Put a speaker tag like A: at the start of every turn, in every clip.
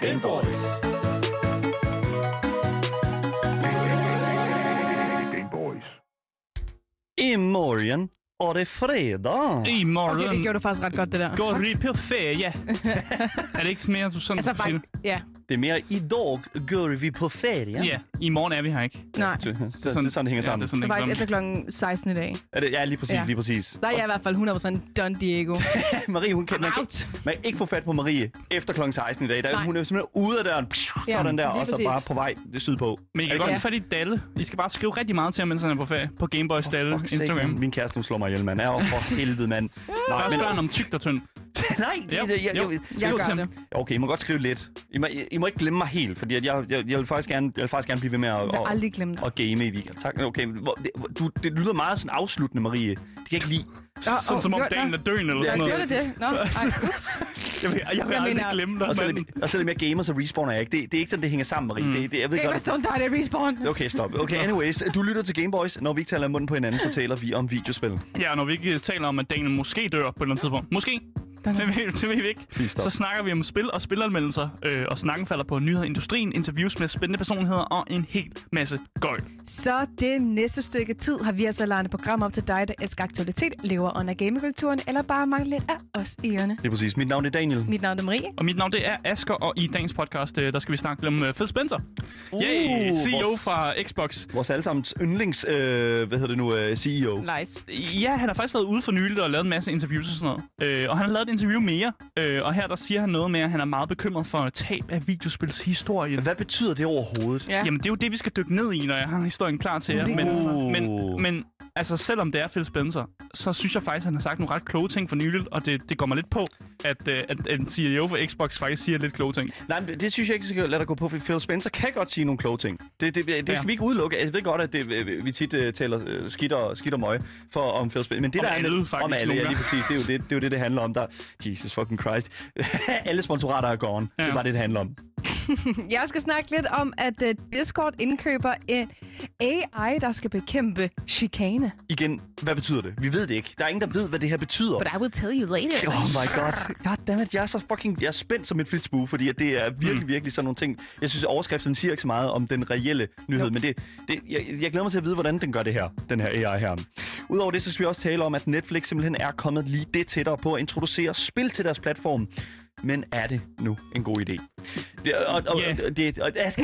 A: Gameboys. Gameboys.
B: Imorgon är det fredag.
C: Imorgen.
D: Okay, det gjorde du faktisk ret godt, det der.
C: Går I på ferie? er det ikke mere sådan,
D: Altså,
C: du
D: bare,
C: siger?
D: ja.
B: Det är mer idag går vi på ferie.
C: Ja, i morgen er vi her ikke. Det
D: Nej,
B: Så, så, så, det er sådan, det hænger
C: ja,
B: sammen.
C: Det er sådan,
D: det
C: det
D: var faktisk
C: hænger
D: efter
C: sammen.
D: klokken 16 i dag.
B: Er det, ja, lige præcis,
D: Ja.
B: lige præcis.
D: Der er jeg i hvert fald 100% Don Diego.
B: Marie, hun kan, man, kan,
D: Out!
B: man kan ikke få fat på Marie efter kl. 16 i dag. Der,
D: Nej.
B: hun er simpelthen ude af døren,
D: Ja,
B: sådan der,
D: lige
B: og så
D: præcis.
B: bare på vej sydpå.
C: Men I
B: Er
C: kan
B: det
C: godt
B: ikke-
C: få fat i Dalle. I skal bare skrive rigtig meget til ham, mens han er på ferie. På Gameboys Dalle
B: For fuck's sake,
C: Instagram.
B: mand. Min kæreste, hun slår mig ihjel, mand. Er for helvede, mand.
C: Der
B: Nej,
C: spørger han om tykt og tynd.
B: nej, det,
C: Jo,
B: det, jeg, jeg, jeg,
C: jo.
D: Jeg
C: Skriv
D: gør
C: til ham.
D: det.
B: Okay, I må godt skrive lidt. I må, I, I må ikke glemme mig helt, fordi at jeg, jeg, jeg, vil faktisk gerne, jeg vil faktisk gerne blive ved med at,
D: Jeg har
B: at,
D: aldrig glemt dig.
B: at game i weekend. Tak. Okay, hvor- det, hvor- du, det lyder meget sådan afsluttende, Marie. Det kan jeg ikke lide.
D: Nå,
C: Sådan
D: åh,
C: som om
D: gjorde-
C: dagen
D: nå.
C: er døende eller
B: Ja,
C: sådan
D: Nå,
C: noget.
D: Gjorde det det? Nå, ej, ups.
C: Jeg vil, jeg vil
D: Jeg
C: aldrig
D: mener-
C: glemme dig.
B: Og,
C: mand.
B: selvom, og selvom jeg gamer, så respawner jeg ikke. Det, det er ikke sådan, det hænger sammen, Marie.
C: Mm.
B: Det, det, jeg ved
D: Det er
B: godt,
D: ikke
B: at-
D: sådan, der er det respawn.
B: Okay, stop. Okay, anyways. Du lytter til Gameboys. Når vi ikke taler i munden på hinanden, så taler vi om videospil.
C: Ja, når vi ikke øh, taler om, at Daniel måske dør på et eller andet tidspunkt. Måske. Det ved, det ved vi ikke.
B: Please stop.
C: Så snakker vi om spil og spilanmeldelser, øh, og snakken falder på nyheder i industrien, interviews med spændende personligheder og en hel masse gøjl.
D: Så det næste stykke tid har vi altså lejet et program op til dig, der elsker aktualitet, lever under gamekulturen, eller bare mangler lidt af os i ørerne.
B: Det er præcis. Mit navn er Daniel.
D: Mit navn er Marie.
C: Og mit navn det er Asker, og i dagens podcast, øh, der skal vi snakke lidt om øh, Phil Spencer. Uh, Yay, CEO
B: vores-
C: fra Xbox.
B: Vores allesammens yndlings, øh, hvad hedder det nu, øh, CEO.
D: Nice.
C: Ja, han har faktisk været ude for nyligt og lavet en masse interviews og sådan noget. Øh, og han har lavet et interview mere, øh, og her der siger han noget med, at han er meget bekymret for tab af videospilshistorien.
B: Hvad betyder det overhovedet?
D: Ja.
C: Jamen, det er jo det, vi skal dykke ned i, når jeg har historien klar til jer.
D: Det
C: Men,
D: glæder
B: mig.
C: men, men altså, selvom det er Phil Spencer, så synes jeg faktisk, at han har sagt nogle ret kloge ting for nyligt, og det, det går mig lidt på, at, øh, at, at en CEO for Xbox faktisk siger lidt kloge ting.
B: Nej, men det synes jeg ikke, vi skal lade dig gå på, for Phil Spencer kan godt sige nogle kloge ting. Det, det, det skal
C: Ja.
B: vi ikke udelukke. Altså, Jeg ved godt, at det, øh, vi tit uh, taler uh, skidt, og, skidt og møg for, om Phil Spencer. Men det
C: Om
B: der er
C: alle,
B: lidt-
C: faktisk,
B: Om alle,
C: nogle
B: ja, lige
C: gange.
B: præcis. Det er, jo det, det er jo det, det handler om. Der, Jesus fucking Christ. alle sponsorater er gone. Ja. Det
C: Ja.
B: er bare det, det handler om.
D: Jeg skal snakke lidt om, at øh, Discord indkøber en AI, der skal bekæmpe chikane.
B: Igen, hvad betyder det? Vi ved det ikke. Der er ingen, der ved, hvad det her betyder.
D: But I will tell you later.
B: Oh my god. God damn it, jeg er så fucking jeg er spændt som et flitsbue, fordi at det er
C: Mm.
B: virkelig, virkelig sådan nogle ting. Jeg synes, at overskriften siger ikke så meget om den reelle nyhed, men det, det, jeg, jeg glæder mig til at vide, hvordan den gør det her, den her AI her. Udover det, så skal vi også tale om, at Netflix simpelthen er kommet lige det tættere på at introducere spil til deres platform. Men er det nu en god idé? Det, og, og,
C: Ja.
B: yeah. det, og, Aske,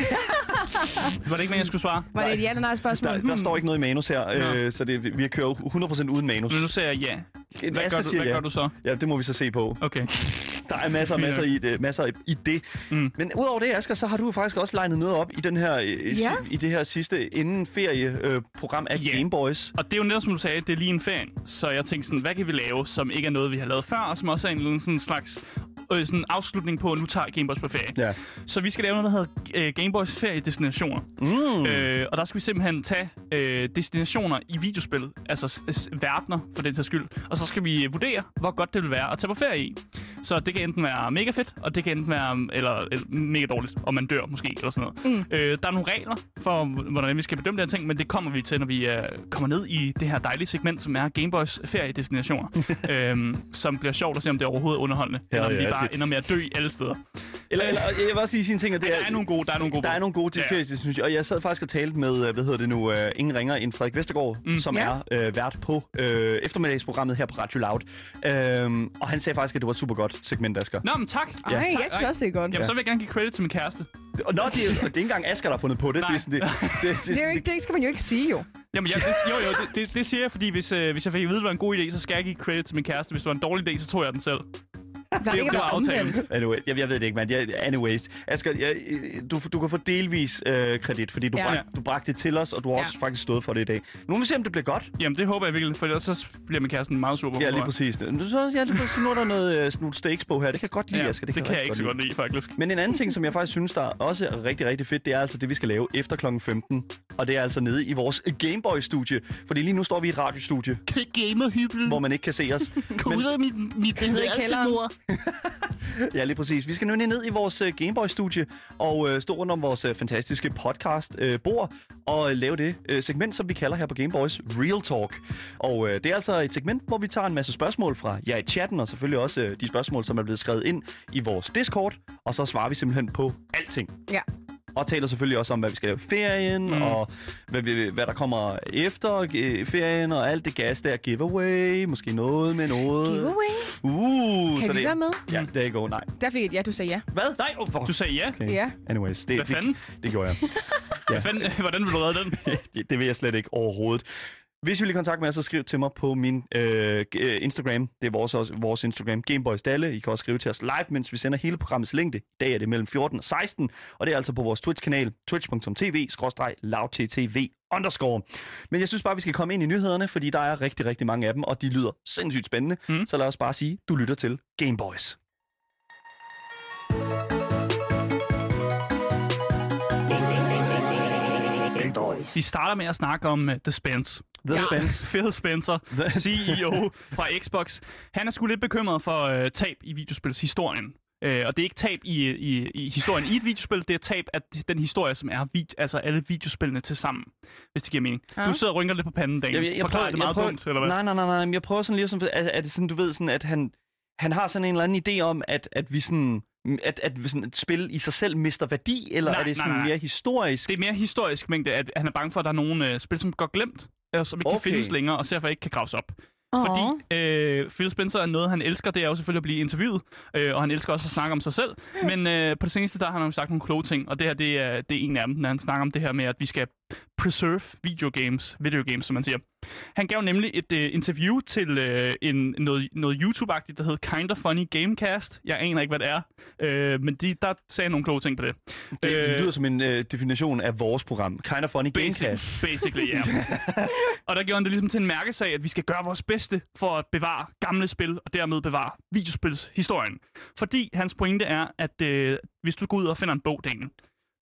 C: Var det ikke, hvad jeg skulle svare?
D: Var det et ja eller nej spørgsmål? Hmm.
B: der, der står ikke noget i manus her,
C: hmm. Nå.
B: øh, så det, vi- vi kører 100% uden manus.
C: Men nu siger jeg ja. Hvad,
B: Asger
C: gør du,
B: siger
C: hvad
B: ja.
C: gør du så?
B: Ja, det må vi så se på.
C: Okay.
B: Der er masser og
C: Fint
B: masser
C: nok.
B: i det. Masser i- i det.
C: Mm.
B: Mm. Men udover det, Asger, så har du faktisk også legnet noget op i, den her, øh, i,
D: Ja.
B: i det her sidste inden ferieprogram af
C: Ja.
B: yeah. Gameboys.
C: Og det er jo netop, som du sagde, det er lige en ferie. Så jeg tænkte sådan, hvad kan vi lave, som ikke er noget, vi har lavet før, og som også er en eller anden sådan slags øh, sådan afslutning på, at nu tager Gameboys på ferie.
B: Ja.
C: Så vi skal lave noget, der hedder øh, Gameboys feriedestinationer.
B: Mm.
C: Øh, og der skal vi simpelthen tage øh, destinationer i videospil, altså s- s- verdener for den sags skyld, og så skal vi øh, vurdere, hvor godt det vil være at tage på ferie i. Så det kan enten være mega fedt, og det kan enten være mm, eller, eller mega dårligt, og man dør måske, eller sådan noget. Mm. Øh, der er nogle regler for, h- hvordan vi skal bedømme de her ting, men det kommer vi til, når vi øh, kommer ned i det her dejlige segment, som er Gameboys feriedestinationer, øhm, som bliver sjovt at se, om det er overhovedet underholdende,
B: Ja,
C: eller om
B: ja,
C: vi
B: det-
C: bare ender med at dø alle steder.
B: Eller, eller, jeg vil også lige sige en ting, og det
C: Der er nogle gode, der er nogle gode.
B: Der er nogle gode til
C: Ja.
B: ferie, synes jeg. Og jeg sad faktisk og talte med, øh, hvad hedder det nu, uh, ingen ringer end Frederik Vestergaard, mm. som
D: Ja.
B: er øh, vært på øh, eftermiddagsprogrammet her på Radio Loud. Øhm, og han sagde faktisk, at det var et super godt segment, Asger.
C: Nå, men tak.
D: Ej,
B: Ja.
D: jeg synes også, det er godt.
C: Jamen, så vil jeg gerne give credit til min kæreste.
B: Og nå, det, er, og det er ikke engang Asger, der har fundet på det.
C: Nej.
B: Det, er sådan, det, det, det,
D: Det, er jo ikke, det skal man jo ikke sige, jo.
C: Jamen, jeg, det, jo, jo, det, det, det siger jeg, fordi hvis, øh, hvis jeg fik at vide, at det var en god idé, så skal jeg give credit til min kæreste. Hvis det var en dårlig idé, så tog jeg den selv.
D: Der
C: det
D: ikke
C: var
D: været
C: aftalen.
D: omvendt.
B: Anyway, jeg, jeg ved det ikke, mand. Jeg, anyways. Asger, jeg, øh, du, du kan få delvis øh, kredit, fordi du,
D: Ja.
B: ja. brak, du bragte det til os, og du har
D: Ja.
B: også faktisk stået for det i dag. Nu må vi se, om det bliver godt.
C: Jamen, det håber jeg virkelig, for ellers så bliver min kæresten meget sur på mig,
B: Ja, lige
C: tror jeg.
B: præcis. Nu, så, ja, lige præcis. Nu er der noget, øh, sådan nogle steaks på her. Det kan jeg godt lide,
C: Ja,
B: Asger.
C: det, det kan jeg
B: rigtig
C: ikke så godt lide, faktisk.
B: Men en anden ting, som jeg faktisk synes, der også er rigtig, rigtig fedt, det er altså det, vi skal lave efter kl. 15. Og det er altså nede i vores Gameboy-studie. Fordi lige nu står vi i et radiostudie,
C: Kan gamer hybel.
B: hvor man ikke kan se os.
C: Gå ud af mit, mit det
D: hedder i kælderen.
B: Ja, lige præcis. Vi skal nu lige ned i vores øh, Gameboy-studie og øh, stå rundt om vores øh, fantastiske podcast-bord og øh, lave det øh, segment, som vi kalder her på Gameboys Real Talk. Og øh, det er altså et segment, hvor vi tager en masse spørgsmål fra jer i chatten, og selvfølgelig også øh, de spørgsmål, som er blevet skrevet ind i vores Discord, og så svarer vi simpelthen på alting.
D: Ja.
B: Og taler selvfølgelig også om, hvad vi skal lave i ferien, mm.
C: Mm.
B: og hvad, vi, hvad der kommer efter øh, ferien, og alt det gas der. Giveaway, måske noget med noget.
D: Giveaway.
B: Uh,
D: Kan
B: så
D: vi
B: det,
D: være med?
B: Ja, det er ikke over, nej.
D: Der fik jeg et ja, du sagde ja.
B: Hvad? Nej, oh, fuck.
C: Du sagde ja.
B: Okay.
D: Ja.
B: Anyways, det,
C: Hvad fanden?
B: Det, det gjorde jeg.
C: Hvad fanden? Hvordan vil du redde den?
B: det, det vil jeg slet ikke overhovedet. Hvis I vil i kontakt med os, så skriv til mig på min øh, g- øh, Instagram. Det er vores, også, vores Instagram, Gameboys Dalle. I kan også skrive til os live, mens vi sender hele programmets længde. I dag er det mellem 14 og 16, og det er altså på vores Twitch-kanal, twitch.tv-lavttv underscore. Men jeg synes bare, vi skal komme ind i nyhederne, fordi der er rigtig, rigtig mange af dem, og de lyder sindssygt spændende. Mm.
C: Mm.
B: Så lad os bare sige, du lytter til Gameboys.
C: Vi starter med at snakke om uh, The Spence.
B: The ja. Spence.
C: Phil Spencer,
B: Hvad?
C: CEO fra Xbox. Han er sgu lidt bekymret for øh, tab i videospilshistorien. Øh, og det er ikke tab i, i, i historien i et videospil, det er tab af den historie, som er vid- altså alle videospillene til sammen, hvis det giver mening.
D: Ja.
C: Ja. Du sidder og rynker lidt på panden, Dan. Forklarer det meget
B: jeg prøver,
C: dumt, eller hvad?
B: Nej, nej, nej, nej, men jeg prøver sådan lige sådan, er, er det sådan, du ved, sådan, at han, han har sådan en eller anden idé om, at, at vi sådan, at, at, vi sådan, at spil i sig selv mister værdi, eller
C: Nej,
B: er det
C: nej,
B: sådan
C: nej.
B: mere historisk?
C: Det er mere historisk mængde, at han er bange for, at der er nogle øh, spil, som går glemt, eller som ikke okay.
B: Okay.
C: kan findes længere, og derfor ikke kan graves op.
D: Åh.
C: Fordi øh, Phil Spencer er noget, han elsker, det er jo selvfølgelig at blive interviewet, øh, og han elsker også at snakke om sig selv. Men øh, på det seneste, der har han jo sagt nogle kloge ting, og det her, det er, det er en af dem, når han snakker om det her med, at vi skal preserve videogames, videogames, som man siger. Han gav nemlig et øh, interview til øh, en, noget, noget YouTube-agtigt, der hed Kinda Funny Gamecast. Jeg aner ikke, hvad det er, øh, men de, der sagde han nogle kloge ting på det.
B: Det
C: Øh,
B: lyder som en øh, definition af vores program. Kind of funny gamecast.
C: Basic, basically, ja. og der gjorde han det ligesom til en mærkesag, at vi skal gøre vores bedste for at bevare gamle spil, og dermed bevare videospilshistorien. Fordi hans pointe er, at øh, hvis du går ud og finder en bog, Daniel,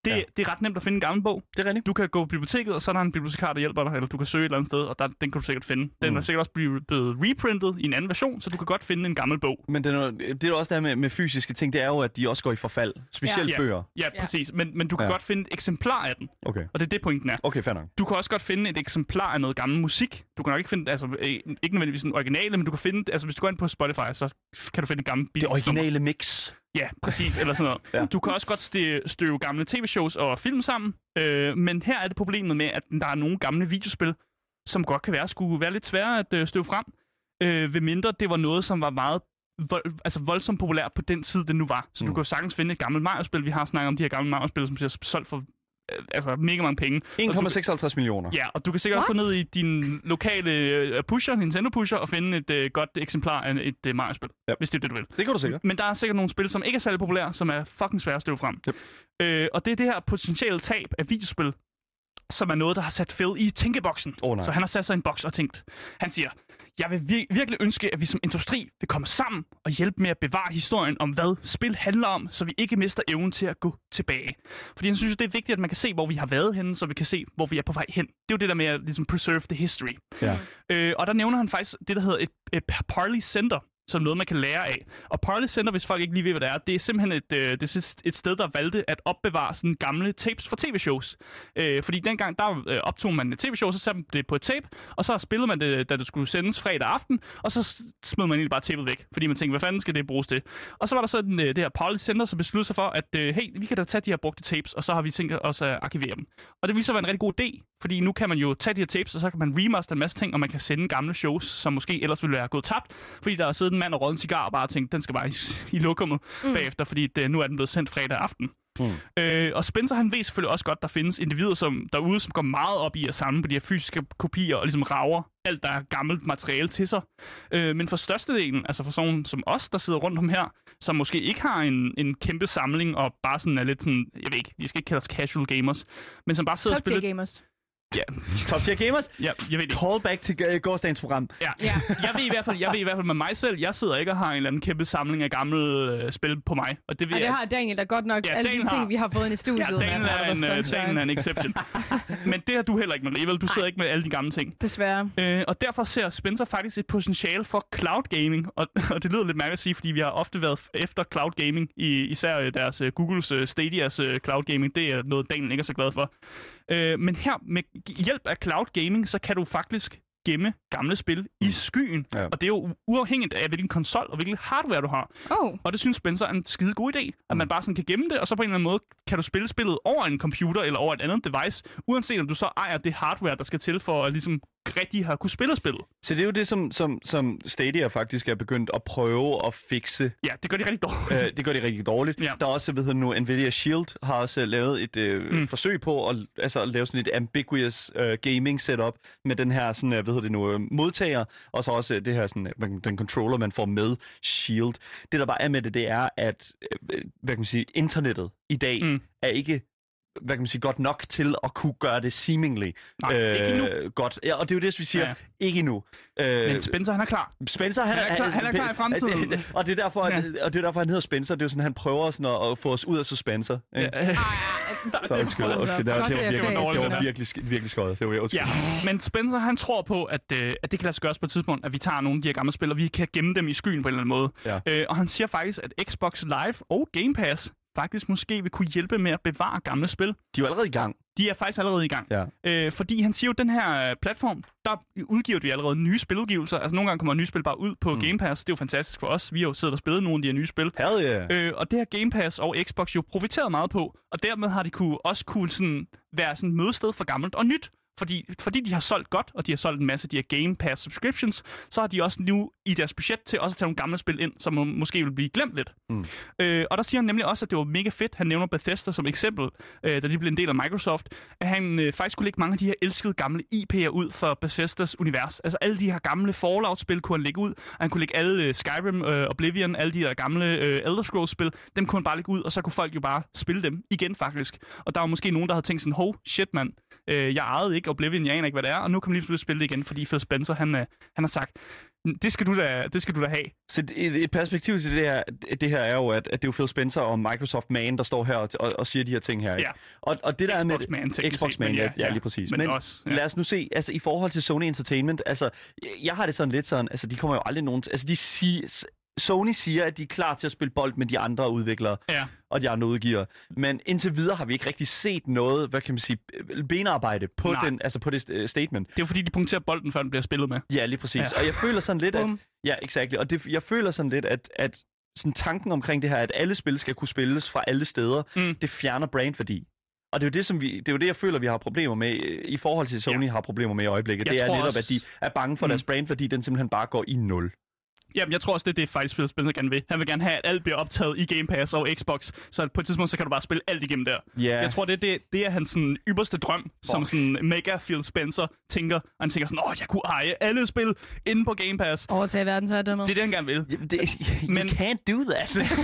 C: det,
B: Ja.
C: ja. det er ret nemt at finde en gammel bog.
B: Det er rigtigt.
C: Du kan gå på biblioteket, og så er der en bibliotekar, der hjælper dig, eller du kan søge et eller andet sted, og der, den kan du sikkert finde. Den
B: Mm.
C: er sikkert også blive- blevet reprintet i en anden version, så du kan godt finde en gammel bog.
B: Men det er, jo- det er jo også der med, med fysiske ting, det er jo, at de også går i forfald. Specielt
C: Ja.
B: bøger.
C: Ja,
D: Ja.
C: ja. præcis. Men, men du kan
B: Ja.
C: ja. godt finde et eksemplar af den,
B: Okay.
C: og det er det, pointen er.
B: Okay, fair nok.
C: Du kan også godt finde et eksemplar af noget gammel musik. Du kan nok ikke finde, altså øh, ikke nødvendigvis den originale, men du kan finde, altså hvis du går ind på Spotify, så kan du finde et gammelt
B: Det
C: Beatles
B: originale mix.
C: Ja, præcis, eller sådan noget.
B: Ja.
C: ja. Du kan også godt stø- støve gamle tv-shows og film sammen, øh, men her er det problemet med, at der er nogle gamle videospil, som godt kan være, skulle være lidt svære at øh, støve frem, øh, ved mindre det var noget, som var meget vold, altså voldsomt populært på den tid, det nu var. Så mm.
B: Mm.
C: du kan jo sagtens finde et gammelt Mario-spil. Vi har snakket om de her gamle Mario-spil, som bliver solgt for øh, altså mega mange penge. Og du-
B: 1,56 millioner.
C: Ja, og du kan sikkert What? også gå
D: What?
C: ned i din lokale øh, pusher, Nintendo-pusher, og finde et øh, godt eksemplar af et øh, Mario-spil,
B: Ja.
C: ja. hvis det er det, du vil.
B: Det kan du sikkert.
C: Men der er sikkert nogle spil, som ikke er særlig populære, som er fucking svære at støve frem.
B: Yep.
C: Øh, og det er det her potentielle tab af videospil, som er noget, der har sat Phil i tænkeboksen.
B: Åh, nej.
C: Så han har sat sig i en boks og tænkt. Han siger, jeg vil vir- virkelig ønske, at vi som industri vil komme sammen og hjælpe med at bevare historien om, hvad spil handler om, så vi ikke mister evnen til at gå tilbage. Fordi han synes, jo, det er vigtigt, at man kan se, hvor vi har været henne, så vi kan se, hvor vi er på vej hen. Det er jo det der med at ligesom, preserve the history.
B: Ja.
C: Øh, og der nævner han faktisk det, der hedder et, et Parley Center, som noget, man kan lære af. Og Parley Center, hvis folk ikke lige ved, hvad det er, det er simpelthen et, øh, det er sidst- et sted, der valgte at opbevare sådan gamle tapes fra tv-shows. Øh, fordi dengang, der øh, optog man et tv-show, så satte man det på et tape, og så spillede man det, da det skulle sendes fredag aften, og så s- smed man egentlig bare tapet væk, fordi man tænkte, hvad fanden skal det bruges til? Og så var der sådan øh, det her Parley Center, som besluttede sig for, at øh, hey, vi kan da tage de her brugte tapes, og så har vi tænkt os at arkivere dem. Og det viser sig at være en rigtig god idé, fordi nu kan man jo tage de her tapes, og så kan man remaster en masse ting, og man kan sende gamle shows, som måske ellers ville være gået tabt, fordi der har siddet en mand og røget en cigar og bare tænkt, den skal bare i, i lokummet mm. bagefter, fordi det, nu er den blevet sendt fredag aften.
B: Mm.
C: Øh, og Spencer, han ved selvfølgelig også godt, der findes individer som, derude, som går meget op i at samle på de her fysiske kopier og ligesom rager alt, der er gammelt materiale til sig. Øh, men for størstedelen, altså for sådan nogen som os, der sidder rundt om her, som måske ikke har en, en kæmpe samling og bare sådan er lidt sådan, jeg ved ikke, vi skal ikke kalde os casual gamers, men som bare sidder og
D: Top tier
C: spiller
D: gamers.
B: Ja. Top Tier Gamers.
C: Ja, jeg ved det ikke.
B: Callback til øh, gårsdagens program.
C: Ja.
D: Ja.
C: ja. Jeg, ved i hvert fald, jeg ved i hvert fald med mig selv, jeg sidder ikke og har en eller anden kæmpe samling af gamle øh, spil på mig. Og det, ved
D: Og det
C: jeg,
D: har Daniel da godt nok
C: Ja,
D: alle de
C: Daniel
D: ting,
C: har-
D: vi har fået ind i
C: Ja,
D: studiet.
C: Daniel
D: mand.
C: er, en,
D: der
C: øh,
D: sunshine.
C: Daniel er en exception. Men det har du heller ikke, Marie, vel? Du sidder ikke med alle de gamle ting.
D: Desværre.
C: Øh, og derfor ser Spencer faktisk et potentiale for cloud gaming, og, og det lyder lidt mærkeligt at sige, fordi vi har ofte været f- efter cloud gaming, i, især øh, deres øh, Googles øh, Stadias øh, cloud gaming, det er noget, Daniel ikke er så glad for. Øh, men her, med g- hjælp af cloud gaming, så kan du faktisk gemme gamle spil i skyen,
B: Ja.
C: ja. og det er jo u- uafhængigt af, hvilken konsol og hvilken hardware du har.
D: Oh,
C: Og det synes Spencer er en skide god idé, at
B: Mm.
C: man bare sådan kan gemme det, og så på en eller anden måde kan du spille spillet over en computer eller over et andet device, uanset om du så ejer det hardware, der skal til for at ligesom rigtig har kunne spille spillet.
B: Så det er jo det, som, som, som Stadia faktisk er begyndt at prøve at fikse.
C: Ja, det gør de rigtig dårligt.
B: Øh, det gør de rigtig dårligt.
C: Ja.
B: Der er også, hvad hedder det nu, Nvidia Shield har også øh, lavet et øh, mm.
C: Mm.
B: forsøg på at, altså, at lave sådan et ambiguous øh, gaming setup med den her sådan, øh, hvad hedder det nu, øh, modtager, og så også øh, det her sådan, øh, man- den controller, man får med Shield. Det, der bare er med det, det er, at øh, hvad kan man sige, internettet i dag mm.
C: Mm.
B: er ikke hvad kan man sige, godt nok til at kunne gøre det seemingly øh,
C: Nej, ikke endnu.
B: godt. Ja, og det er jo det, vi siger, ja,
C: Ja,
B: ja. ikke endnu. Øh,
C: Men Spencer, han er klar.
B: Spencer, han,
C: Han er klar- han er klar i fremtiden.
B: Altså, det- og, det er derfor, at, og det er derfor, han hedder Spencer. Det er jo sådan, han prøver sådan at, at få os ud af suspenser. Ikke? Ja.
C: Ja, øh,
B: Så undskyld,
D: Hold da
B: undskyld. Det var,
D: op.
B: det var
D: Godt, det er
B: virkelig,
C: dårligt,
B: det var
C: ja.
B: virkelig, sk- virkelig skøjet. Det var jeg undskyld.
C: ja, men Spencer, han tror på, at, øh, at det kan lade sig gøres på et tidspunkt, at vi tager nogle af de her gamle spil, og vi kan gemme dem i skyen på en eller anden måde.
B: Ja.
C: Øh, og han siger faktisk, at Xbox Live og Game Pass faktisk måske vil kunne hjælpe med at bevare gamle spil.
B: De er jo allerede i gang.
C: De er faktisk allerede i gang.
B: Ja.
C: Øh, fordi han siger jo, at den her øh, platform, der udgiver vi allerede nye spiludgivelser. Altså nogle gange kommer nye spil bare ud på
B: Mm.
C: mm. Game Pass. Det er jo fantastisk for os. Vi har jo siddet og spillet nogle af de her nye spil.
B: Hell yeah.
C: Øh, og det har Game Pass og Xbox jo profiteret meget på, og dermed har de kunne, også kunne sådan, være sådan et mødested for gammelt og nyt. Fordi, fordi de har solgt godt, og de har solgt en masse af de her Game Pass subscriptions, så har de også nu i deres budget til også at tage nogle gamle spil ind, som må- måske vil blive glemt lidt.
B: Mm.
C: Øh, og der siger han nemlig også, at det var mega fedt, han nævner Bethesda som eksempel, øh, da de blev en del af Microsoft, at han øh, faktisk kunne lægge mange af de her elskede gamle IP'er ud for Bethesdas univers. Altså alle de her gamle Fallout-spil kunne han lægge ud, og han kunne lægge alle øh, Skyrim, øh, Oblivion, alle de der gamle øh, Elder Scrolls-spil, dem kunne han bare lægge ud, og så kunne folk jo bare spille dem igen faktisk. Og der var måske nogen, der havde tænkt sådan, hov, shit mand, øh, jeg ejede ikke Oblivion, jeg aner ikke, hvad det er, og nu kan man lige pludselig spille det igen, fordi Phil Spencer, han, øh, han har sagt, det skal, du da, det skal du da have.
B: Så et, et perspektiv til det her, det her er jo, at, at det er jo Phil Spencer og Microsoft Man, der står her og, og, og siger de her ting her. Ikke?
C: Ja.
B: Og, og det der er med...
C: Xbox Man, teknisk
B: Xbox
C: set,
B: Man,
C: men
B: ja,
C: ja,
B: ja,
C: ja.
B: lige præcis.
C: Men også, ja.
B: lad os nu se, altså i forhold til Sony Entertainment, altså jeg har det sådan lidt sådan, altså de kommer jo aldrig nogen... Altså de siger... Sony siger, at de er klar til at spille bold med de andre udviklere.
C: Ja.
B: og de andre udgiver. Men indtil videre har vi ikke rigtig set noget, hvad kan man sige, benarbejde på,
C: Nej.
B: den, altså på det øh, statement.
C: Det er jo fordi, de punkterer bolden, før den bliver spillet med.
B: Ja, lige præcis. Ja.
C: Ja.
B: Og jeg føler sådan lidt, at,
D: Bum.
B: ja, exakt. Og det, jeg føler sådan lidt, at, at sådan tanken omkring det her, at alle spil skal kunne spilles fra alle steder, mm.
C: Mm.
B: det fjerner brandværdi. Og det er, jo det, som vi, det er jo det, jeg føler, vi har problemer med, øh, i forhold til Sony ja. har problemer med i øjeblikket.
C: Jeg
B: det er
C: tror
B: netop,
C: også-
B: at de er bange for, at
C: Mm.
B: deres brandværdi, den simpelthen bare går i nul.
C: Jamen, jeg tror også, det er det, faktisk Phil Spencer gerne vil. Han vil gerne have, at alt bliver optaget i Game Pass og Xbox, så på et tidspunkt, så kan du bare spille alt igennem der.
B: Ja.
C: Jeg tror, det er, det, det er hans sådan, ypperste drøm, Fuck. som sådan mega Phil Spencer tænker. Og han tænker sådan, åh, jeg kunne eje alle spil inde på Game Pass.
D: Overtage verdensherredømmet.
C: Det er det, han gerne vil.
B: Jamen, det, you Men...
C: Men-
B: can't do that.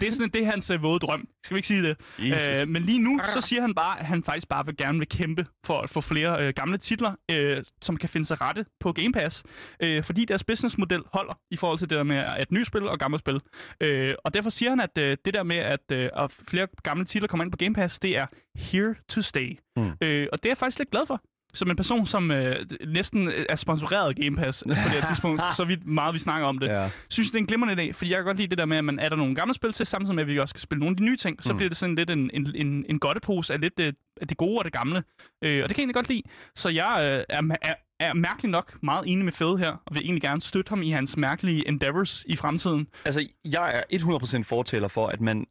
C: Det er sådan, det er hans øh, våde drøm. Skal vi ikke sige det?
B: Jesus.
C: Øh, men lige nu, så siger han bare, at han faktisk bare vil gerne vil kæmpe for at få flere øh, gamle titler, øh, som kan finde sig rette på Game Pass. Øh, fordi deres businessmodel holder i forhold til det der med at nye spil og gamle spil. Øh, og derfor siger han, at øh, det der med, at, øh, at flere gamle titler kommer ind på Game Pass, det er here to stay.
B: Mm.
C: Mm. Øh, og det er jeg faktisk lidt glad for. Som en person, som øh, næsten er sponsoreret af Game Pass øh, på det her tidspunkt, så vidt meget vi snakker om det
B: ja.
C: synes, det er en glimrende idé, fordi jeg kan godt lide det der med, at man er der nogle gamle spil til, samtidig med, at vi også skal spille nogle af de nye ting. Så
B: Mm.
C: mm. bliver det sådan lidt en, en, en, en godtepose af lidt det, af det gode og det gamle. Øh, og det kan jeg egentlig godt lide. Så jeg øh, er, ma- er, er mærkeligt nok meget enig med Fed her, og vil egentlig gerne støtte ham i hans mærkelige endeavors i fremtiden.
B: Altså, jeg er 100% fortæller for, at man...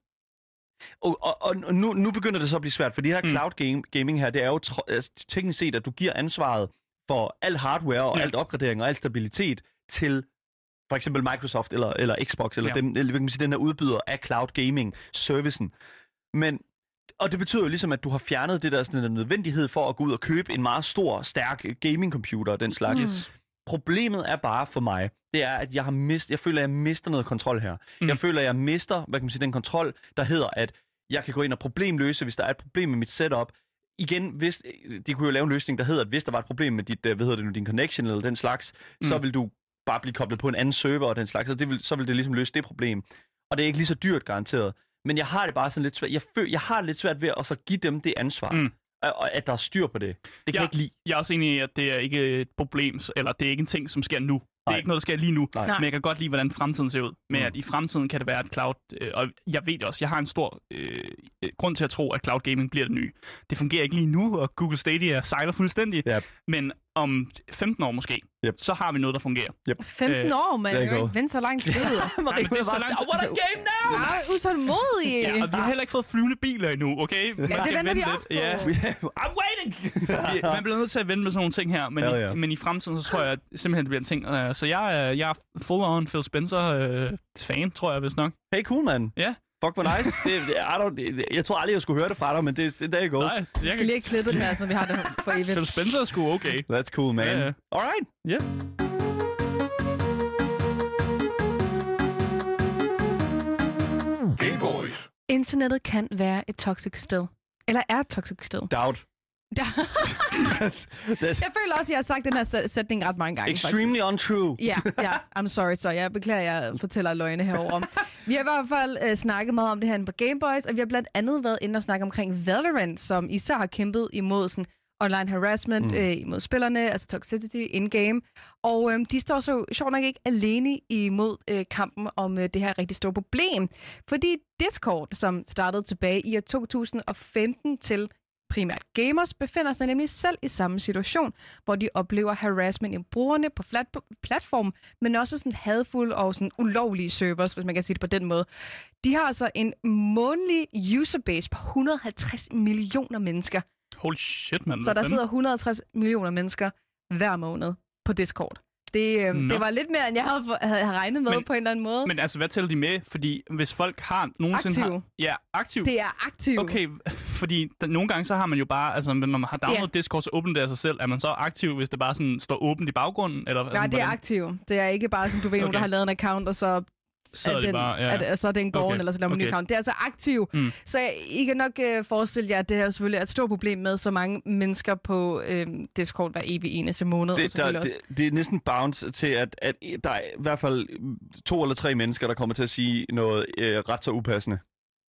B: Og, og, og nu, nu begynder det så at blive svært, for det her mm.
C: Mm.
B: cloud game, gaming her, det er jo tro, altså, teknisk set, at du giver ansvaret for al hardware og ja.
C: Ja.
B: alt opgradering og al stabilitet til for eksempel Microsoft eller, eller Xbox, eller, ja.
C: Ja.
B: dem, eller hvad kan man sige, den her udbyder af cloud gaming-servicen. Men og det betyder jo ligesom, at du har fjernet det der sådan en nødvendighed for at gå ud og købe en meget stor, stærk øh, gaming-computer og den slags.
D: Yes.
C: Mm.
B: Problemet er bare for mig, det er, at jeg, har mist, jeg føler, at jeg mister noget kontrol her. Mm.
C: Mm.
B: Jeg føler, at jeg mister hvad kan man sige, den kontrol, der hedder, at jeg kan gå ind og problemløse, hvis der er et problem med mit setup. igen, hvis, de kunne jo lave en løsning, der hedder, at hvis der var et problem med dit, øh, hvad hedder det nu, din connection eller den slags, mm. så
C: Mm.
B: vil du bare blive koblet på en anden server og den slags, og det vil, så vil det ligesom løse det problem. Og det er ikke lige så dyrt garanteret. Men jeg har det bare sådan lidt svært. Jeg, føl, jeg har det lidt svært ved at så give dem det ansvar,
C: Mm.
B: mm. og, og at der er styr på det. Det kan
C: Ja.
B: jeg ikke lide.
C: Jeg er også enig i, at det er ikke et problem, eller det er ikke en ting, som sker nu. Det er
B: Nej.
C: ikke noget, der sker lige nu,
B: Nej.
D: Nej.
C: men jeg kan godt lide, hvordan fremtiden ser ud. Men
B: Mm.
C: at i fremtiden kan det være, at cloud... Øh, og jeg ved det også, jeg har en stor øh, øh, grund til at tro, at cloud gaming bliver det nye. Det fungerer ikke lige nu, og Google Stadia sejler fuldstændig.
B: Yep.
C: Men om 15 år måske,
B: Yep.
C: så har vi noget, der fungerer.
D: 15
C: Øh,
D: år, mand.
B: there
D: Jeg
B: you
D: kan
B: go.
D: ikke vente så lang tid.
C: Nej, men det er så lang tid-
B: What a game now!
D: Jeg er utålmodig.
C: Ja, og vi har heller ikke fået flyvende biler endnu, okay? Man
D: det
C: skal
D: venter vi
C: vente
D: også
C: lidt.
D: på.
C: Ja. I'm waiting! man bliver nødt til at vente med sådan nogle ting her, men,
B: Ja,
C: ja, ja. I,
B: ja.
C: men i fremtiden, så tror jeg at simpelthen, det bliver en ting. Øh, Så jeg, er- jeg er full-on Phil Spencer-fan, tror jeg vist nok.
B: Hey, cool, man.
C: Ja.
B: Fuck, hvor nice. Det, det, I don't, det, jeg tror aldrig, jeg skulle høre det fra dig, men det, det der er gået.
C: Nej, jeg
D: Vi kan
C: kan...
D: lige ikke klippe den her, som vi har det for evigt.
C: Phil Spencer er sgu okay.
B: That's cool, man.
C: Ja, ja.
B: All right.
C: Ja.
D: Internettet kan være et toxic sted. Eller er et toxic sted.
B: Doubt.
D: Der-
B: That's, that's
D: Jeg føler også, at jeg har sagt den her sæ- sætning ret mange gange.
B: extremely untrue.
D: Ja, ja. I'm sorry, så jeg beklager, at jeg fortæller løgne herovre. Vi har i hvert fald øh, snakket meget om det her inde på Gameboys, og vi har blandt andet været inde og snakke omkring Valorant, som især har kæmpet imod sådan, online harassment mm.
B: Mm.
D: øh, imod spillerne, altså toxicity in-game. Og øh, de står så sjovt nok ikke alene imod øh, kampen om øh, det her rigtig store problem. Fordi Discord, som startede tilbage i år 2015 til primært gamers, befinder sig nemlig selv i samme situation, hvor de oplever harassment af brugerne på flat- platformen, men også sådan hadfulde og sådan ulovlige servers, hvis man kan sige det på den måde. De har altså en månedlig userbase på 150 millioner mennesker.
C: Holy shit, mand.
D: Så
C: hvad
D: der
C: fanden?
D: sidder 160 millioner mennesker hver måned på Discord. Det, øh,
C: Nå.
D: det var lidt mere, end jeg havde, havde havde regnet med
C: Men-
D: men, på en eller anden måde. Men,
C: Men altså, hvad tæller de med? Fordi hvis folk har nogensinde...
D: Aktive.
C: Har... Ja, aktiv.
D: det er aktivt.
C: Okay, fordi der, nogle gange så har man jo bare, altså når man har downloadet Discord, så åbner det af sig selv. Er man så aktiv, hvis det bare sådan står åbent i baggrunden? Eller,
D: Nej, det er aktivt. Det er ikke bare sådan, du ved, nogen,
C: Okay.
D: der har lavet en account, og så
C: Så er det
D: den,
C: bare, ja.
D: at, at så er den gården,
C: Okay,
D: okay. eller så laver man okay.
C: okay.
D: ny account. Det er altså aktiv.
C: Mm.
D: Mm. Så jeg- I kan nok øh, forestille jer, at det her selvfølgelig er et stort problem med så mange mennesker på øh, Discord hver evig eneste måned. og
B: Det, der,
D: selvfølgelig også.
B: det, det er næsten bounce til, at, at der er i hvert fald to eller tre mennesker, der kommer til at sige noget øh, ret så upassende.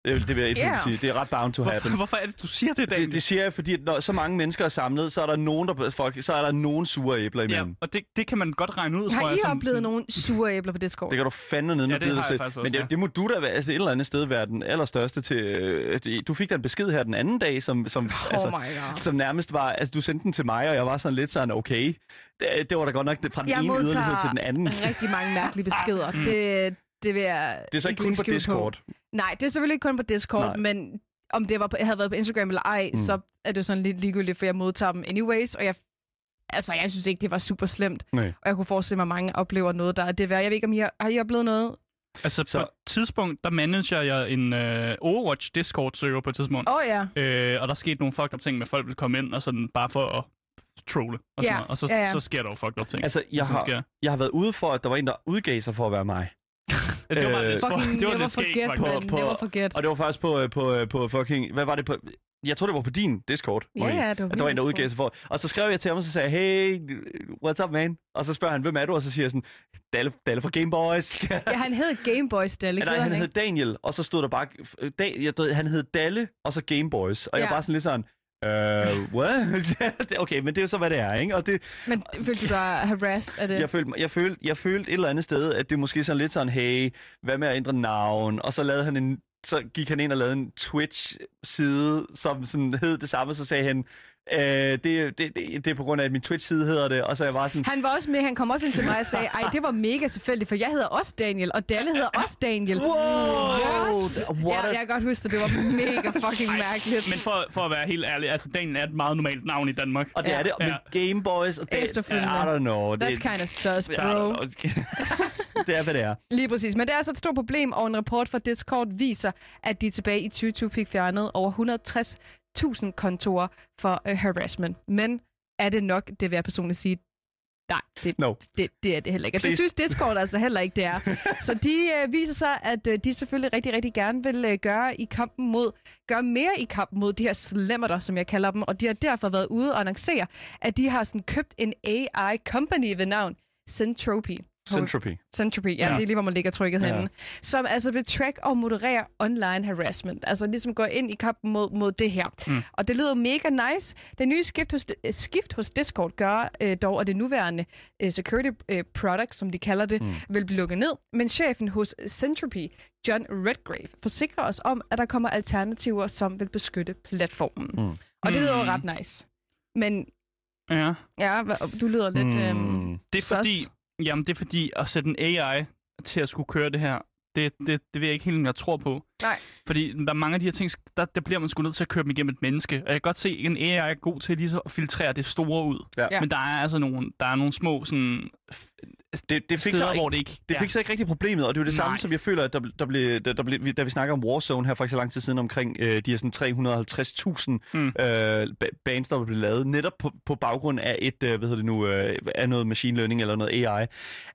B: Det, det vil jeg yeah.
D: Ja.
B: sige. Det er ret bound to happen.
C: Hvorfor, hvorfor er det, du siger det, Daniel?
B: Det, det siger jeg, fordi at når så mange mennesker er samlet, så er der nogen, der, fuck, så er der nogen sure æbler
C: ja,
B: imellem.
C: og det, det kan man godt regne ud, tror
D: Har I
C: jeg. som-
D: oplevet
C: sådan-
D: nogle sure æbler på Discord?
B: Det kan du fandme ned med
C: Ja, det
B: bide
C: har
B: dig
C: jeg
B: selv.
C: faktisk også,
B: Men det,
C: ja.
B: det må du da være, altså et eller andet sted være den allerstørste til... Øh, det- du fik da en besked her den anden dag, som, som,
D: Oh
B: altså,
D: my god.
B: som nærmest var... Altså, du sendte den til mig, og jeg var sådan lidt sådan, okay. Det, det var da godt nok det- fra den
D: Jeg
B: ene
D: modtager-
B: yderlighed til den anden.
D: Rigtig mange mærkelige beskeder. Det, det vil jeg
B: Det er så ikke kun
D: lægge
B: på
D: skjul
B: Discord.
D: Nej, det er selvfølgelig ikke kun på Discord,
B: Nej.
D: Nej. men om det var på, havde været på Instagram eller ej, mm.
B: Mm.
D: så er det jo sådan lidt ligegyldigt, for jeg modtager dem anyways, og jeg, altså, jeg synes ikke, det var super slemt.
B: Nej.
D: Og jeg kunne forestille mig, at mange oplever noget, der er det værd. Jeg ved ikke, om I har, har I oplevet noget?
C: Altså, så...
B: Så-
C: på et tidspunkt, der manager jeg en øh, Overwatch Discord-server på et tidspunkt.
D: Åh oh, ja.
C: Øh, og der skete nogle fucked up ting med, at folk ville komme ind og sådan bare for at trolle. Og,
D: Ja,
C: sådan noget. og så,
D: ja, ja.
C: så sker der jo fucked up ting.
B: Altså, jeg
C: Sådan
B: har,
C: sker.
B: jeg har været ude for, at der var en, der udgav sig for at være mig.
C: Ja, det var bare
B: øh,
C: lidt spøjst.
D: Fucking
C: det var
D: never
C: lidt skægt,
D: forget,
C: faktisk.
D: man.
B: På- på-
D: Never forget.
B: Og det var faktisk på, øh, på, øh, på fucking... Hvad var det på... Jeg tror, det var på din Discord,
D: Ja,
B: Marie.
D: ja, det var
B: at der var en, der
D: min
B: udgav sig for. Og så skrev jeg til ham, og så sagde jeg, hey, what's up, man? Og så spørger han, hvem er du? Og så siger jeg sådan, Dalle, Dalle fra Game Boys.
D: Ja, han hed Gameboy Stalle,
B: Nej, han hed Daniel, og så stod der bare, da, jeg, ved, han hed Dalle, og så Game Boys. Og ja. jeg
D: Ja.
B: var bare sådan lidt sådan, øh, what? okay, men det er jo så, hvad det er, ikke? Og det,
D: Men følte du dig harassed af det?
B: jeg, følte, mig- jeg, følte, jeg følte et eller andet sted, at det måske sådan lidt sådan, hey, hvad med at ændre navn? Og så lavede han en, så gik han ind og lavede en Twitch-side, som sådan hed det samme, så sagde han, øh, det, det, det, det, er på grund af, at min Twitch-side hedder det, og så er jeg bare sådan,
D: Han var også med, han kom også ind til mig og sagde, ej, det var mega tilfældigt, for jeg hedder også Daniel, og Dalle hedder også Daniel. Yes!
B: What
D: Ja,
B: a-
D: jeg kan godt huske, at det var mega fucking mærkeligt.
C: Men for, for at være helt ærlig, altså Daniel er et meget normalt navn i Danmark.
B: og det
D: Ja.
B: er det, men Game Boys, og det,
D: Efterfølgende.
B: I don't know. Det,
D: That's kind of sus,
B: I don't
D: bro.
B: know. det er, hvad det er.
D: Lige præcis. Men det er altså et stort problem, og en rapport fra Discord viser, at de tilbage i 2020 fik fjernet over øh, 160.000 kontorer for uh, harassment. Men er det nok, det vil jeg personligt sige, Nej, det,
B: No.
D: det, det er det heller ikke. Og det
B: Please.
D: synes Discord altså heller ikke, det er. Så de øh, viser sig, at øh, de selvfølgelig rigtig, rigtig gerne vil øh, gøre i kampen mod, gøre mere i kampen mod de her slammerter, som jeg kalder dem. Og de har derfor været ude og annoncere, at de har sådan købt en AI company ved navn Centropy.
B: Centropy.
D: Centropy, ja,
C: Ja.
D: ja. det er lige, hvor man ligger trykket
B: Ja.
D: ja. henne. Som altså vil track og moderere online harassment. Altså ligesom går ind i kampen mod, mod det her.
C: Mm.
D: Mm. Og det lyder mega nice. Den nye skift hos, øh, skift hos Discord gør øh, dog, at det nuværende øh, security øh, product, som de kalder det,
B: Mm.
D: mm. vil blive lukket ned. Men chefen hos Centropy, John Redgrave, forsikrer os om, at der kommer alternativer, som vil beskytte platformen.
B: Mm.
D: Mm. Og det lyder jo
C: Mm.
D: ret nice. Men
C: Ja.
D: ja, hva- du lyder lidt... Mm. Øhm,
C: Det er
D: Sus.
C: fordi, jamen, det er fordi at sætte en AI til at skulle køre det her, det, det, det ved jeg ikke helt, om jeg tror på.
D: Nej.
C: Fordi der er mange af de her ting, der, der bliver man sgu nødt til at køre dem igennem et menneske. Og jeg kan godt se, at en AI er god til lige så at filtrere det store ud.
B: Ja.
D: Ja.
C: Men der er altså nogle, der er nogle små sådan,
B: Det, det fik
C: steder,
B: så
C: hvor det ikke...
B: Det fik så ikke rigtig problemet, og det er jo det samme,
C: Nej.
B: som jeg føler, at der, der blev, der, der blev, da vi snakker om Warzone her for ikke så lang tid siden omkring øh, de her sådan 350.000
C: Mm.
B: mm. øh, ba- bands, der blev lavet netop på, på baggrund af et, øh, hvad hedder det nu, øh, af noget machine learning eller noget AI,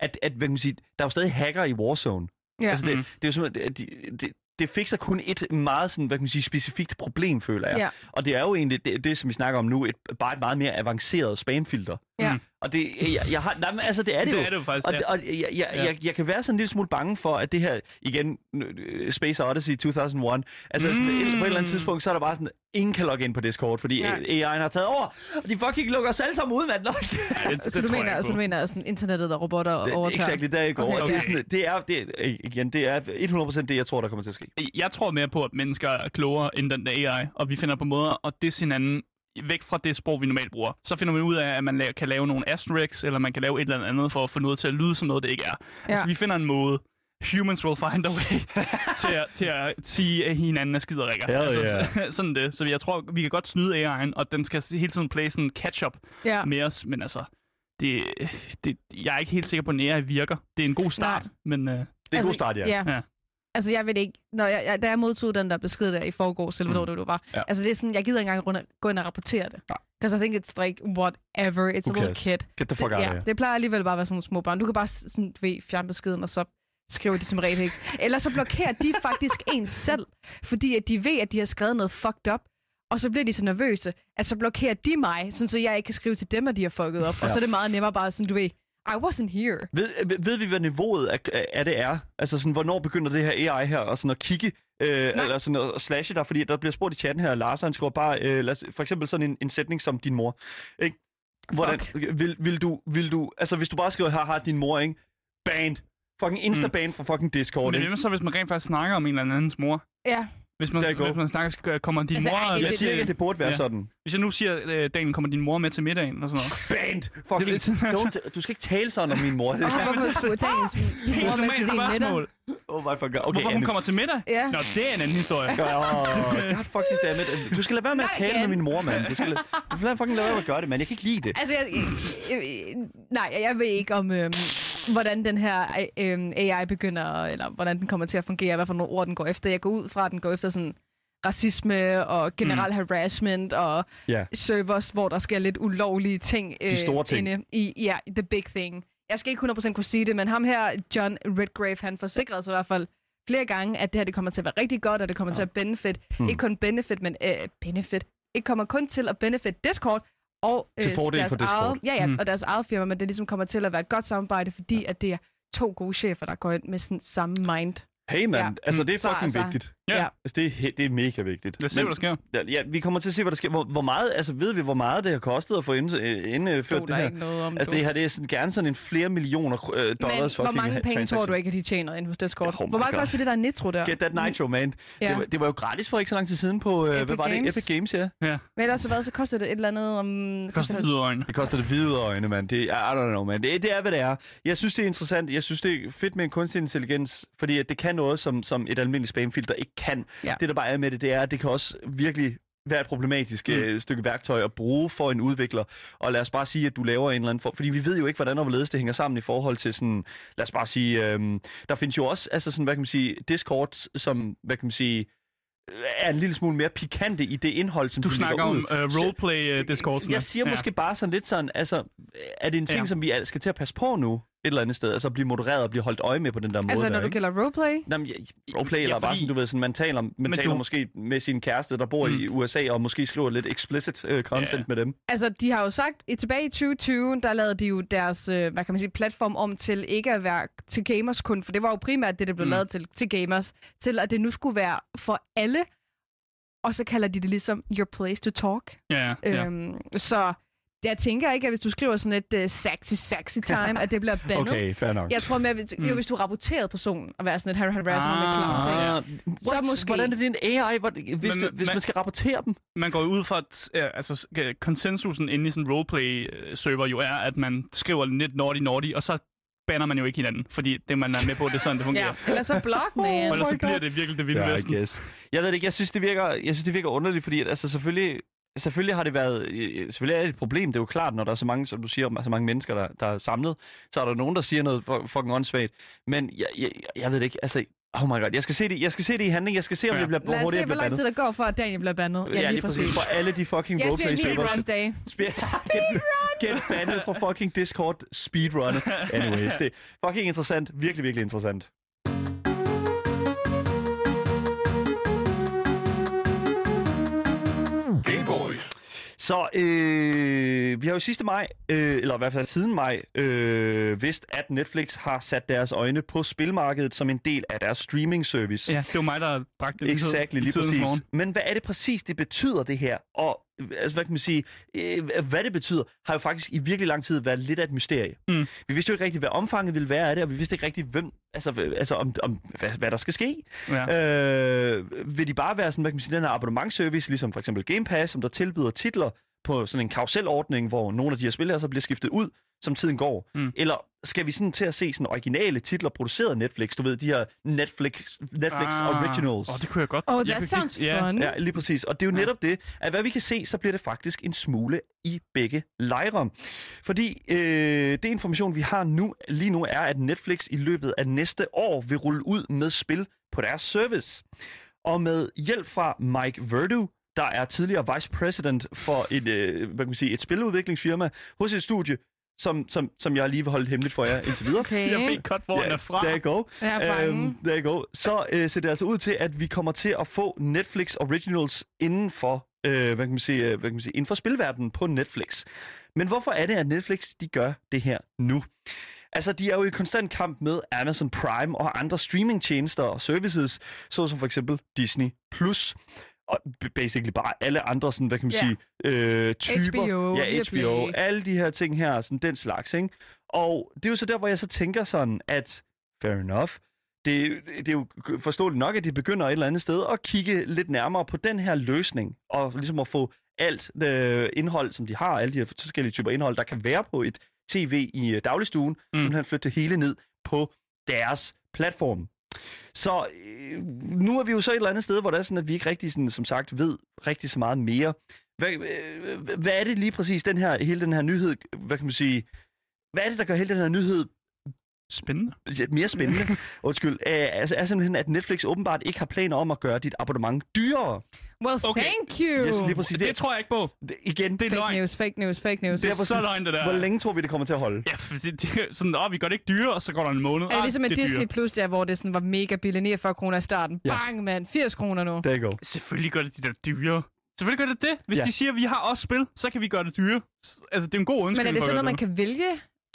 B: at, at hvad kan man sige, der er jo stadig hacker i Warzone.
D: Ja.
B: Altså det,
C: Mm.
B: mm. det er jo simpelthen, at de, det, det fik så kun et meget sådan, hvad kan man sige, specifikt problem, føler jeg.
D: Ja.
B: Og det er jo egentlig det, det som vi snakker om nu, et, bare et meget mere avanceret spamfilter.
D: Ja.
C: Mm.
B: Og det, jeg, jeg har, nej, men altså det er det,
C: det
B: jo.
C: er det jo faktisk,
B: Og,
C: ja.
B: ja. og jeg, jeg,
C: Ja.
B: ja. jeg, jeg kan være sådan en lille smule bange for, at det her, igen, øh, Space Odyssey 2001, altså mm. sådan, et- på et eller andet tidspunkt, så er der bare sådan, ingen kan logge ind på Discord, fordi
D: Nej.
B: ja. AI'en har taget over, og de fucking lukker os alle sammen ud, mand. Nå,
C: Ja, det, det,
D: Så du,
C: tror jeg
D: mener, altså
C: ikke
D: så du
C: på.
D: mener, at sådan internettet og robotter overtager?
B: Exakt i dag går.
D: Okay,
B: Okay, Og det er,
D: okay.
B: sådan, det er, det er, igen, det er 100% det, jeg tror, der kommer til at ske.
C: Jeg tror mere på, at mennesker er klogere end den der AI, og vi finder på måder at disse hinanden væk fra det sprog, vi normalt bruger. Så finder man ud af, at man la- kan lave nogle asterisks, eller man kan lave et eller andet for at få noget til at lyde som noget, det ikke er. Ja. Altså,
D: Ja.
C: vi finder en måde. Humans will find a way til, at, til at sige, at hinanden er skiderikker.
B: Hell
C: altså,
B: yeah.
C: så- sådan det. Så jeg tror, vi kan godt snyde AI'en, og den skal hele tiden play sådan catch-up
D: Ja.
C: med os. Men altså, det, det, jeg er ikke helt sikker på, at en AI virker. Det er en god start,
D: Nej.
C: men... Øh,
B: Det er altså, god start, ja.
D: ja.
C: Ja.
D: Altså, jeg ved ikke... Når jeg, jeg, da jeg modtog den der besked der i forgårs, eller hvornår mm. det var,
B: Ja.
D: ja. altså det er sådan, jeg gider ikke engang runde, gå ind og rapportere det. Because I think it's like, whatever, it's
B: Who
D: a little
B: cares?
D: kid.
B: Get the fuck out
D: det,
B: of here.
D: ja, det plejer alligevel bare at være sådan nogle små børn. Du kan bare s- sådan, du ved, fjerne beskeden, og så skriver de som regel ikke. Eller så blokerer de faktisk en selv, fordi at de ved, at de har skrevet noget fucked up. Og så bliver de så nervøse, at så blokerer de mig, sådan så jeg ikke kan skrive til dem, at de har fucket op. Og så er det meget nemmere bare sådan, du ved, I wasn't here.
B: Ved, ved, ved vi, hvad niveauet af, af det er? Altså, sådan, hvornår begynder det her AI her og sådan at kigge, øh, eller sådan at slashe dig? Fordi der bliver spurgt i chatten her, Lars, han skriver bare, øh, lad os, for eksempel sådan en, en sætning som din mor. Ikke? Hvordan, vil, vil, du, vil du, altså hvis du bare skriver, har din mor, ikke? Banned. Fucking insta-ban mm. fra fucking Discord,
C: Men
B: ikke?
C: hvad så, hvis man rent faktisk snakker om en eller andens mor?
D: Ja,
C: Hvis man,
B: Der går.
C: hvis man snakker, skal- kommer din
D: Altså,
C: mor...
D: ej, det-
B: Jeg
C: hvis,
B: siger ikke, at det burde være
C: Ja.
B: ja. sådan.
C: hvis jeg nu siger, øh, Daniel, kommer din mor med til middagen og sådan noget.
B: Banned.
C: Det er lidt
B: Fucking,
C: sådan-
B: don't, du skal ikke tale sådan om min mor.
D: og
C: men
D: Ah, hvorfor
C: altså-
D: skulle dagens
C: Helt
D: mor med til
C: normalt
D: din middag?
C: spørgsmål.
B: oh my fuck god. Okay,
C: Hvorfor hun
B: Anne.
C: kommer til middag?
D: Ja.
C: Nå, det er en anden historie.
B: Oh, god fucking dammit. Du skal lade være med at
D: Nej,
B: tale med
D: Anne.
B: min mor, mand. Du skal lade, du skal lade fucking lade være med at gøre det, mand. Jeg kan ikke lide det.
D: Altså, jeg, jeg, jeg, nej, jeg- jeg ved ikke om, øhm, hvordan den her øhm, AI begynder, eller hvordan den kommer til at fungere, hvad for nogle ord den går efter. Jeg går ud fra, at den går efter sådan racisme og generel mm. harassment og
B: Ja.
D: servers, hvor der sker lidt ulovlige ting. Øh,
B: store ting.
D: Inde i, ja, the big thing. Jeg skal ikke 100% kunne sige det, men ham her, John Redgrave, han forsikrede sig i hvert fald flere gange, at det her det kommer til at være rigtig godt, og det kommer ja. til at benefit.
B: Hmm.
D: Mm. Ikke kun benefit, men øh, benefit. Ikke kommer kun til at benefit Discord, og øh,
B: Til fordel
D: deres
B: for Discord.
D: Eget, ja, ja,
C: Mm.
D: mm. og deres eget firma, men det ligesom kommer til at være et godt samarbejde, fordi ja. at det er to gode chefer, der går ind med sådan samme mind.
B: Hey man,
D: Ja.
B: ja. altså det er
D: Så
B: fucking
D: altså-
B: vigtigt.
C: Ja.
D: Ja.
B: Altså det er, he- det er mega vigtigt.
C: Lad os se, hvad der sker.
B: sker. Ja, vi kommer til at se, hvad der sker. Hvor, hvor meget, altså ved vi, hvor meget det har kostet at få ind, øh,
D: Stod
B: indført
D: der
B: det her?
D: ikke noget om
B: Altså
D: du.
B: det her, det er sådan, gerne sådan en flere millioner kr- øh,
D: men
B: dollars
D: hvor
B: fucking
D: mange penge tror du ikke, at de tjener ind hos Discord?
B: Oh my
D: hvor meget
B: God.
D: koster det der netro der?
B: Get that nitro, man. Ja.
D: Ja.
B: Det, var, det var jo gratis for ikke så lang tid siden på, øh,
D: Epic
B: hvad var
D: Games.
B: det? Epic Games, ja.
D: Men ellers så hvad, så koster det et eller andet om...
C: Det koster yderøjne.
B: Det koster det hvide øjne, mand. Det, I don't know, man. Det, det er, hvad det er. Jeg synes, det er interessant. Jeg synes, det er fedt med en kunstig intelligens, fordi at det kan noget, som, som et almindeligt spamfilter ikke kan.
D: Ja.
B: Det, der bare er med det, det er, at det kan også virkelig være et problematisk
C: Mm.
B: mm. øh, stykke værktøj at bruge for en udvikler. Og lad os bare sige, at du laver en eller anden form. Fordi vi ved jo ikke, hvordan og hvorledes det hænger sammen i forhold til sådan... Lad os bare sige... Øhm, der findes jo også, altså sådan, hvad kan man sige, Discord, som, hvad kan man sige er en lille smule mere pikante i det indhold, som
C: Du
B: de lægger
C: snakker
B: ud.
C: om uh,
B: Så-
C: roleplay-discord.
B: Jeg siger måske bare sådan lidt sådan, altså, er det en ting,
C: Ja.
B: ja. som vi al- skal til at passe på nu, et eller andet sted? Altså at blive modereret og blive holdt øje med på den der måde
D: Altså,
B: der,
D: når du
B: ikke?
D: kalder roleplay?
B: Nå, men, jeg, roleplay, ja,
C: Ja,
B: eller bare
C: fordi-
B: sådan, du ved, sådan, man taler, man
C: Men
B: taler
C: du-
B: måske med sin kæreste, der bor mm. i USA, og måske skriver lidt explicit uh, content
C: Ja.
B: ja. med dem.
D: Altså, de har jo sagt, i tilbage i 2020, der lavede de jo deres, øh, hvad kan man sige, platform om til ikke at være til gamers kun, for det var jo primært det, der blev
C: Mm.
D: mm. lavet til, til gamers, til at det nu skulle være for alle, og så kalder de det ligesom your place to talk.
C: Ja, ja.
D: Øhm, så jeg tænker ikke, at hvis du skriver sådan et uh, sexy, sexy time, at det bliver bandet.
B: Okay, fair nok.
D: Jeg tror mere, hvis,
C: Mm.
D: mm. hvis du rapporterede personen og være sådan et har- harassment ah, clown ting.
C: ja.
B: Ah, what?
D: Så måske-
B: Hvordan er det en AI, hvor, hvis, men, du,
C: Men-
B: hvis man,
C: men-
B: man skal rapportere dem?
C: Man går jo ud fra, at øh, altså, s- øh, konsensusen inde i sådan en roleplay-server jo er, at man skriver lidt naughty-naughty, og så banner man jo ikke hinanden, fordi det, man er med på, det er sådan, det fungerer.
D: Ja, eller så blog, man.
C: For ellers
B: my
C: så bliver
B: God.
C: det virkelig det vilde
B: Ja, I
C: vesten.
B: guess. Jeg ved det ikke, jeg synes, det virker, jeg synes, det virker underligt, fordi at, altså, selvfølgelig, selvfølgelig har det været, øh, selvfølgelig er det et problem, det er jo klart, når der er så mange, som du siger, så mange mennesker, der, der er samlet, så er der nogen, der siger noget fu- fucking åndssvagt, men jeg, jeg, jeg ved det ikke, altså, oh my god, jeg skal se det, jeg skal se det i handling, jeg skal se, om
C: Ja.
B: det bliver,
D: Lad
B: hvor
D: os
B: hurtigt
D: se,
B: jeg
D: hvor
B: bliver
D: lang tid
B: bandet.
D: der går, for at Daniel bliver bandet. Ja, lige præcis.
B: For alle de fucking
D: Jeg ser
B: roleplay
D: speedruns dage.
B: Speed- Get, get bandet fra fucking Discord speedrun. Anyways, det er fucking interessant. Virkelig, virkelig interessant. Så øh, vi har jo sidste maj, øh, eller i hvert fald siden maj, øh, vidst, at Netflix har sat deres øjne på spilmarkedet som en del af deres streaming service.
C: Ja, det var mig, der bragte det
B: Exakt, lige præcis. Morgen. Men hvad er det præcis, det betyder, det her? Og øh, altså, hvad kan man sige, øh, hvad det betyder, har jo faktisk i virkelig lang tid været lidt af et mysterie.
C: Mm.
B: Vi vidste jo ikke rigtigt, hvad omfanget ville være af det, og vi vidste ikke rigtigt, hvem, altså, øh, altså om, om hvad, hvad der skal ske.
C: Ja.
B: Øh, vil de bare være sådan, hvad kan man sige, den her abonnementservice, ligesom for eksempel Game Pass, som der tilbyder titler på sådan en karusselordning, hvor nogle af de her spil her så bliver skiftet ud, som tiden går?
C: Mm.
B: Eller skal vi sådan til at se sådan originale titler produceret af Netflix? Du ved, de her Netflix, Netflix ah. Originals.
C: Åh, oh, det kunne jeg godt.
D: Oh,
C: jeg
D: that
C: kunne
D: sounds
C: kigge- ja.
D: fun.
B: Ja, lige præcis. Og det er jo
C: Ja.
B: netop det, at hvad vi kan se, så bliver det faktisk en smule i begge lejre. Fordi øh, det information, vi har nu lige nu, er, at Netflix i løbet af næste år vil rulle ud med spil på deres service. Og med hjælp fra Mike Verdu, der er tidligere vice president for et, øh, hvad kan man sige, et spiludviklingsfirma hos et studie, som, som, som jeg lige vil holde hemmeligt for jer indtil videre.
D: Okay.
C: Jeg fik cut, hvor den er fra.
B: der er go.
D: Jeg er bange.
B: Øhm, there you go. Så øh, ser det altså ud til, at vi kommer til at få Netflix Originals inden for, øh, hvad, kan man sige, øh, hvad kan man sige, inden for spilverdenen på Netflix. Men hvorfor er det, at Netflix de gør det her nu? Altså, de er jo i konstant kamp med Amazon Prime og andre streamingtjenester og services, såsom for eksempel Disney+. Plus og b- basically bare alle andre sådan, hvad kan man
D: Ja.
B: sige, øh, typer.
D: HBO,
B: ja,
D: Viaplay.
B: HBO, alle de her ting her, sådan den slags, ikke? Og det er jo så der, hvor jeg så tænker sådan, at fair enough, det, det er jo forståeligt nok, at de begynder et eller andet sted at kigge lidt nærmere på den her løsning, og ligesom at få alt øh, indhold, som de har, alle de her forskellige typer indhold, der kan være på et tv i øh, dagligstuen,
C: Mm.
B: mm. simpelthen flytte det hele ned på deres platform. Så øh, nu er vi jo så et eller andet sted, hvor det er sådan, at vi ikke rigtig, sådan, som sagt, ved rigtig så meget mere. Hvad, øh, hvad er det lige præcis, den her, hele den her nyhed, hvad kan man sige, hvad er det, der gør hele den her nyhed
C: Spændende.
B: lidt mere spændende, undskyld, øh, altså, er simpelthen, at Netflix åbenbart ikke har planer om at gøre dit abonnement dyrere.
D: Well,
C: Okay.
D: thank you.
B: Yes, lige præcis.
C: Det, det tror jeg ikke på.
B: det, igen, det,
C: Det er
D: Fake
C: løgn.
D: news, fake news, fake news.
C: Det
D: Det
C: er så løgn, det der.
B: hvor længe tror vi, det kommer til at holde?
C: Ja, for det, det, er sådan, åh, vi gør det ikke dyre, og så går der en måned.
D: er
C: Ah,
D: ligesom med
C: det er
D: Disney
C: dyre.
D: Plus, der, hvor det sådan var mega billigt, 49 kroner i starten.
B: Ja.
D: Bang, mand, 80 kroner nu.
B: There you go.
C: Selvfølgelig gør det de der dyre. Selvfølgelig gør det det. Hvis
B: Ja.
C: de siger, at vi har også spil, så kan vi gøre det dyre. S- Altså, det er en god
D: Men
C: ønske.
D: er det sådan noget, man kan vælge?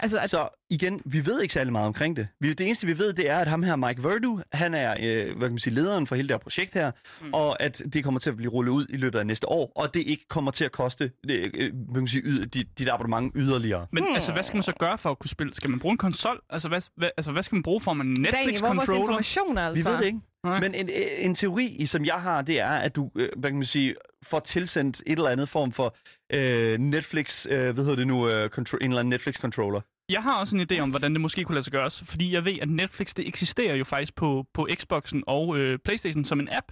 D: Altså, at,
B: Så igen, vi ved ikke særlig meget omkring det. Vi, det eneste, vi ved, det er, at ham her, Mike Verdu, han er øh, hvad kan man sige, lederen for hele det her projekt her,
C: Mm.
B: mm. og at det kommer til at blive rullet ud i løbet af næste år, og det ikke kommer til at koste øh, øh, hvad kan man sige, yder, dit, dit abonnement yderligere.
C: Men altså, hvad skal man så gøre for at kunne spille? Skal man bruge en konsol? Altså, hvad, hvad, altså, hvad skal man bruge for en
D: Daniel, hvor er vores
C: Netflix-controller?
D: information, altså?
B: Vi ved det ikke.
C: Nej.
B: Men en, øh, en teori, som jeg har, det er, at du øh, hvad kan man sige, får tilsendt et eller andet form for øh, Netflix, øh, hvad hedder det nu, øh, contro- en eller anden Netflix-controller.
C: Jeg har også en idé om, hvordan det måske kunne lade sig gøres, fordi jeg ved, at Netflix det eksisterer jo faktisk på, på Xboxen og øh, Playstation som en app.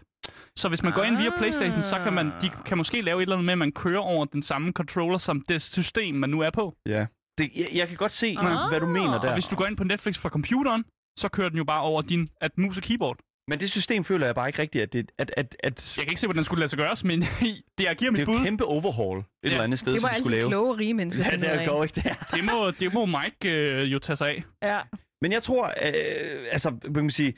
C: Så hvis man går ind via Playstation, så kan man, de kan måske lave et eller andet med, at man kører over den samme controller som det system, man nu er på.
B: Ja. Det, jeg, jeg kan godt se,
D: Ah.
B: hvad du mener
C: Og
B: der.
C: hvis du går ind på Netflix fra computeren, så kører den jo bare over din at mus og keyboard.
B: Men det system føler jeg bare ikke rigtigt, at det, at, at, at
C: Jeg kan ikke se, hvordan den skulle lade sig gøres, men det jeg
B: det
C: giver mit
B: er
C: bud.
B: jo et kæmpe overhaul et ja. eller andet sted,
D: Det var
B: som vi
D: alle
B: skulle
D: de
B: lave.
D: kloge, rige mennesker.
B: Ja,
D: finde ud
B: det
D: af.
B: går ikke der.
C: Det må, det må Mike øh, jo tage sig af.
D: Ja.
B: Men jeg tror, øh, altså, hvad kan man sige,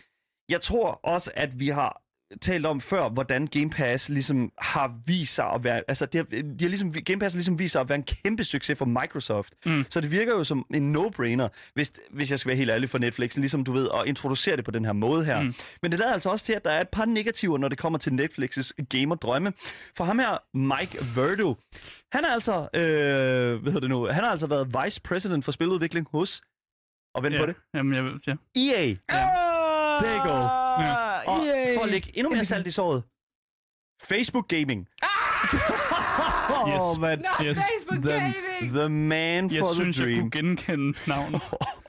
B: jeg tror også, at vi har talt om før, hvordan Game Pass ligesom har vist sig at være, altså det har, de har ligesom, Game Pass har ligesom vist sig at være en kæmpe succes for Microsoft.
C: Mm.
B: Så det virker jo som en no-brainer, hvis, hvis jeg skal være helt ærlig for Netflix, ligesom du ved, at introducere det på den her måde her.
C: Mm.
B: Mm. Men det lader altså også til, at der er et par negativer, når det kommer til Netflix's gamerdrømme. For ham her, Mike Verdu, han er altså, øh, hvad hedder det nu, han har altså været vice president for spiludvikling hos, og vent
C: ja.
B: ja. på det,
C: Jamen, jeg, ja.
B: EA. E There you go.
C: Ja.
B: Og
D: Yay.
B: for at lægge endnu mere salt i såret. Facebook Gaming. Ah!
C: Yes.
B: oh, man.
D: Nå,
C: Yes.
D: Facebook
B: The,
D: gaming!
B: the man
C: Jeg
B: for
C: synes,
B: the
C: jeg kunne
B: dream.
C: genkende navnet.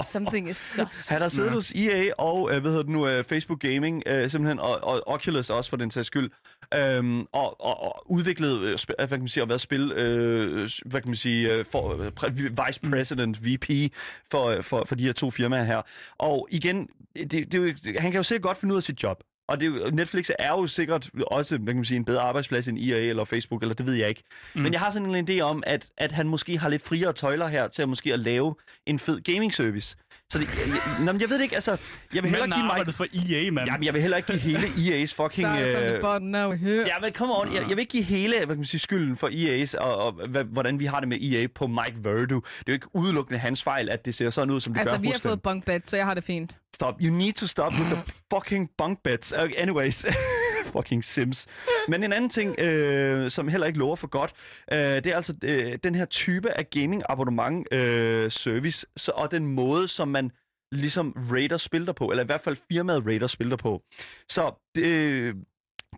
D: Something is sus.
B: Han har siddet
C: Ja.
B: hos EA og, øh, hvad hedder det nu, øh, Facebook Gaming, øh, simpelthen, og, og Oculus også for den sags skyld, øhm, og, og, og udviklet, øh, sp- hvad kan man sige, og været spil, øh, s- hvad kan man sige, øh, for, øh, præ- Vice President, VP, for, øh, for, for de her to firmaer her. Og igen, det, det, er jo ikke- han kan jo sikkert godt finde ud af sit job. Og det, er jo- Netflix er jo sikkert også hvad kan man sige, en bedre arbejdsplads end EA eller Facebook, eller det ved jeg ikke. Mm. Men jeg har sådan en idé om, at, at han måske har lidt friere tøjler her til at måske at lave en fed gaming service. Så det, jeg, jeg, nå, men jeg ved det ikke, altså, jeg vil heller
C: Manden
B: ikke
C: har
B: give Mike,
C: arbejdet for EA, mand.
B: jamen, jeg vil heller ikke give hele EA's fucking...
D: Started from the
B: øh,
D: bottom, now we're here.
B: Ja, men come on. Jeg, jeg vil ikke give hele hvad kan man sige, skylden for EA's, og, og hvad, hvordan vi har det med EA på Mike Verdu. Det er jo ikke udelukkende hans fejl, at det ser sådan ud, som det
D: Altså,
B: gør
D: vi har
B: hos dem.
D: fået bunk bed, så jeg har det fint.
B: Stop. You need to stop with the fucking bunk beds. Okay, anyways. fucking Sims. Men en anden ting, øh, som heller ikke lover for godt, øh, det er altså øh, den her type af gaming abonnement øh, service, så, og den måde, som man ligesom rater spil der på, eller i hvert fald firmaet rater spil der på. Så øh,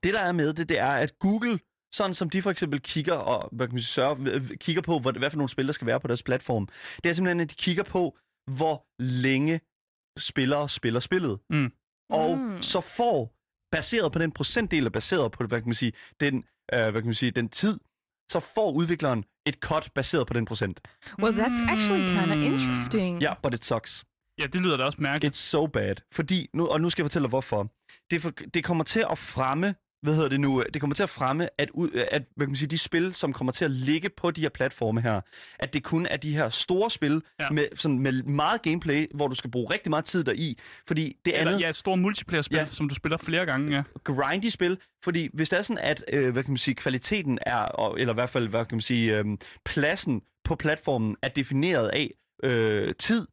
B: det, der er med det, det er, at Google, sådan som de for eksempel kigger, og, hvad kan man sige, sørger, øh, kigger på, hvad, hvad for nogle spil, der skal være på deres platform, det er simpelthen, at de kigger på, hvor længe spillere spiller spillet.
C: Mm.
B: Og
D: Mm.
B: mm. så får, baseret på den procentdel, og baseret på hvad kan man sige, den, øh, hvad kan man sige, den tid, så får udvikleren et cut baseret på den procent.
D: Well, that's actually kind of
C: Mm.
D: interesting.
B: Ja, yeah, but it sucks.
C: Ja, det lyder da også mærkeligt.
B: It's so bad. Fordi, nu, og nu skal jeg fortælle dig hvorfor. Det, er for, det kommer til at fremme, hvad hedder det nu, det kommer til at fremme, at, ud, at hvad kan man sige, de spil, som kommer til at ligge på de her platforme her, at det kun er de her store spil,
C: Ja.
B: ja. med, sådan, med meget gameplay, hvor du skal bruge rigtig meget tid deri, fordi det
C: Eller,
B: andet...
C: ja, et stort multiplayer-spil,
B: Ja.
C: som du spiller flere gange. Ja.
B: grindy spil, fordi hvis det er sådan, at øh, hvad kan man sige, kvaliteten er, og, eller i hvert fald, hvad kan man sige, øh, pladsen på platformen er defineret af øh, tid,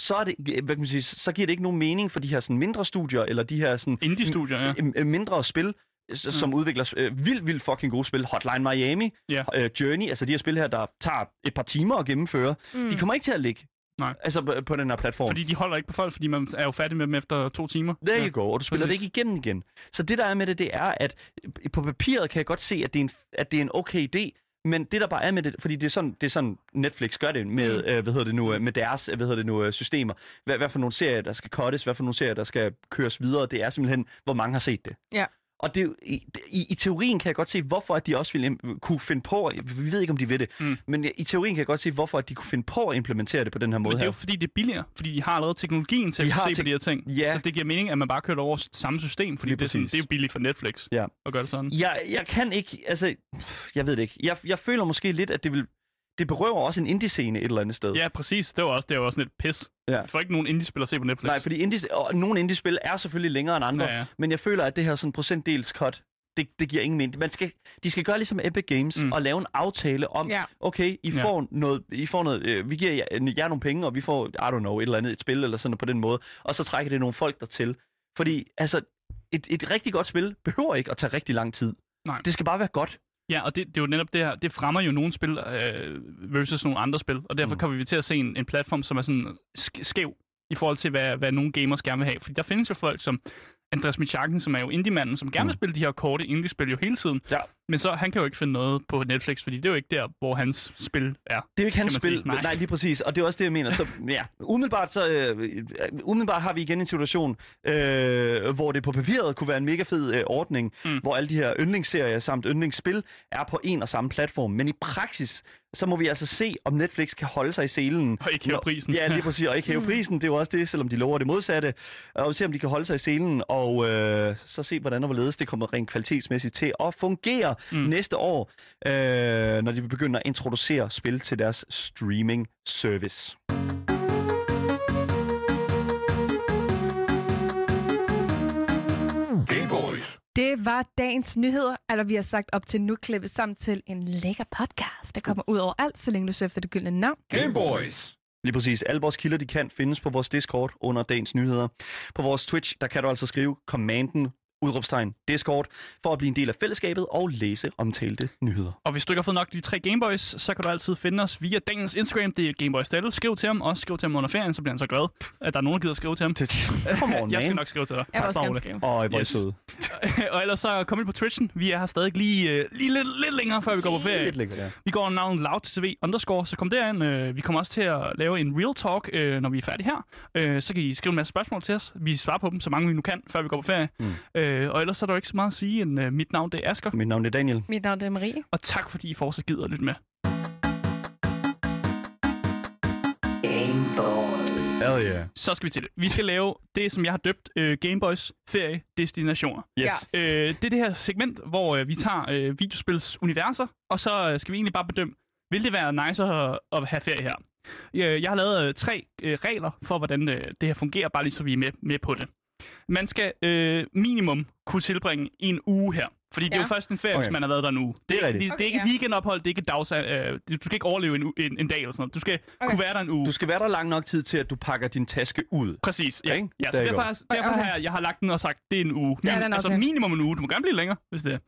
B: så, er det, hvad kan man sige, så giver det ikke nogen mening for de her sådan, mindre studier, eller de her sådan,
C: Indie-studier, ja. Mm.
B: m- m- mindre spil, s- som udvikler øh, vildt, vildt fucking gode spil. Hotline Miami,
C: Ja.
B: øh, Journey, altså de her spil her, der tager et par timer at gennemføre,
D: Mm.
B: mm. de kommer ikke til at ligge
C: Nej.
B: altså, på- på den her platform.
C: Fordi de holder ikke på folk, fordi man er jo færdig med dem efter to timer.
B: There
C: ja.
B: you go, og du spiller
C: præcis.
B: det ikke igennem igen. Så det, der er med det, det er, at på papiret kan jeg godt se, at det er en, at det er en okay idé, men det, der bare er med det, fordi det er sådan, det er sådan Netflix gør det med,
C: Mm.
B: øh, hvad hedder det nu, øh, med deres øh, hvad hedder det nu, øh, systemer. Hvad, hvad for nogle serier, der skal cuttes, hvad for nogle serier, der skal køres videre, det er simpelthen, hvor mange har set det.
D: Ja.
B: Og det, er jo- i, i, i teorien kan jeg godt se, hvorfor at de også ville im- kunne finde på, vi ved ikke, om de ved det,
C: Mm.
B: mm. men i teorien kan jeg godt se, hvorfor at de kunne finde på at implementere det på den her måde
C: Men det er
B: her.
C: jo fordi, det er billigere, fordi de har allerede teknologien til
B: De
C: at
B: har
C: kunne se
B: tek-
C: på de her ting.
B: Ja.
C: Så det giver mening, at man bare kører det over samme system, fordi
B: Lige
C: det er, sådan,
B: præcis.
C: det er jo billigt for Netflix
B: Ja.
C: at gøre det sådan.
B: Jeg, jeg kan ikke, altså, jeg ved det ikke. Jeg, jeg føler måske lidt, at det vil, det berøver også en indie-scene et eller andet sted.
C: Ja, præcis. Det var også, det var også sådan et pis.
B: Ja.
C: Vi får ikke nogen indie-spil at se på Netflix.
B: Nej, fordi indie, og nogle indie-spil er selvfølgelig længere end andre,
C: Ja, ja.
B: men jeg føler, at det her sådan procentdels cut, det, det giver ingen mening. Man skal, de skal gøre ligesom Epic Games
C: Mm.
B: mm. og lave en aftale om,
D: Ja.
B: okay, I
C: Ja.
B: får noget, I får noget øh, vi giver jer, jer nogle penge, og vi får, I don't know, et eller andet et spil, eller sådan noget på den måde, og så trækker det nogle folk dertil. Fordi, altså, et, et rigtig godt spil behøver ikke at tage rigtig lang tid.
C: Nej.
B: Det skal bare være godt.
C: Ja, og det, det er jo netop det her. Det fremmer jo nogle spil øh, versus nogle andre spil, og derfor mm.
B: Mm.
C: kommer vi til at se en, en platform, som er sådan sk- skæv i forhold til, hvad, hvad nogle gamers gerne vil have. Fordi der findes jo folk som Andreas Michakken, som er jo indie-manden, som gerne vil spille de her korte indie-spil jo hele tiden.
B: Mm. Ja.
C: Men så, han kan jo ikke finde noget på Netflix, fordi det er jo ikke der, hvor hans spil er.
B: Det er jo ikke hans
C: Kan man sige.
B: spil.
C: Nej.
B: Nej. Nej, lige præcis. Og det er også det, jeg mener. Så, ja. umiddelbart, så, øh, umiddelbart har vi igen en situation, øh, hvor det på papiret kunne være en mega fed øh, ordning,
C: Mm.
B: mm. hvor alle de her yndlingsserier samt yndlingsspil er på en og samme platform. Men i praksis, så må vi altså se, om Netflix kan holde sig i selen.
C: Og ikke hæve
B: Nå,
C: prisen. Mm.
B: Ja, lige præcis. Og ikke hæve prisen. Det er jo også det, selvom de lover det modsatte. Og se, om de kan holde sig i selen, og øh, så se, hvordan og hvorledes det kommer rent kvalitetsmæssigt til at fungere mm. næste år, øh, når de begynder at introducere spil til deres streaming service.
D: Det var dagens nyheder, eller vi har sagt op til nu klippet sammen til en lækker podcast, der kommer ud over alt, så længe du søger efter det gyldne navn.
B: Lige præcis. Alle vores kilder, de kan findes på vores Discord under dagens nyheder. På vores Twitch, der kan du altså skrive commanden udråbstegn Discord for at blive en del af fællesskabet og læse omtalte nyheder.
C: Og hvis du ikke har fået nok de tre Gameboys, så kan du altid finde os via Daniels Instagram. Det er Gameboys Dalle. Skriv til ham, også skriv til ham under ferien, så bliver han så glad, at der er nogen, der gider at skrive til ham.
B: Come on,
C: Jeg skal
B: man.
C: nok skrive til dig.
D: Jeg vil også
C: Dagmar.
D: gerne skrive.
B: Og hvor er I
C: Yes.
B: søde.
C: og ellers så kom ind på Twitchen. Vi er her stadig lige, øh, lige lidt, lidt længere, før vi går på ferie.
B: Lidt lækkert, ja.
C: Vi går under navnet LoudTV underscore, så kom derind. Øh, Vi kommer også til at lave en real talk, øh, når vi er færdige her. Øh, Så kan I skrive en masse spørgsmål til os. Vi svarer på dem, så mange vi nu kan, før vi går på ferie. Mm. Og ellers er der jo ikke så meget at sige, end øh, mit navn det er Asger.
B: Mit navn er Daniel.
D: Mit navn er Marie.
C: Og tak fordi I fortsat gider at lytte med.
B: Hell yeah.
C: Så skal vi til det. Vi skal lave det, som jeg har døbt øh, Gameboys ferie destinationer.
B: Yes.
D: Ja.
C: Øh, det er det her segment, hvor øh, vi tager øh, videospils universer, og så øh, skal vi egentlig bare bedømme, vil det være nice at, at have ferie her? Jeg, jeg har lavet øh, tre øh, regler for, hvordan øh, det her fungerer, bare lige så vi er med, med på det. Man skal øh, minimum kunne tilbringe en uge her. Fordi det er
D: Ja.
C: jo først en ferie,
B: Okay.
C: hvis man har været der en uge. Det
B: er
C: er, ikke,
B: rigtigt.
C: det, det er ikke
D: Okay, ja.
C: weekendophold, det er ikke dags... Øh, det- du skal ikke overleve en, u- en, en dag eller sådan noget. Du skal okay. kunne være der en uge.
B: Du skal være der lang nok tid til, at du pakker din taske ud.
C: Præcis, ja.
B: Ikke?
C: ja
B: Der
C: så
B: er I
C: derfor,
B: går.
C: er- derfor
D: Okay.
C: har jeg, jeg har lagt den og sagt, det er en uge.
D: Ja,
C: Min-
D: den er
C: altså
D: okay.
C: minimum en uge. Du må gerne blive længere, hvis det er.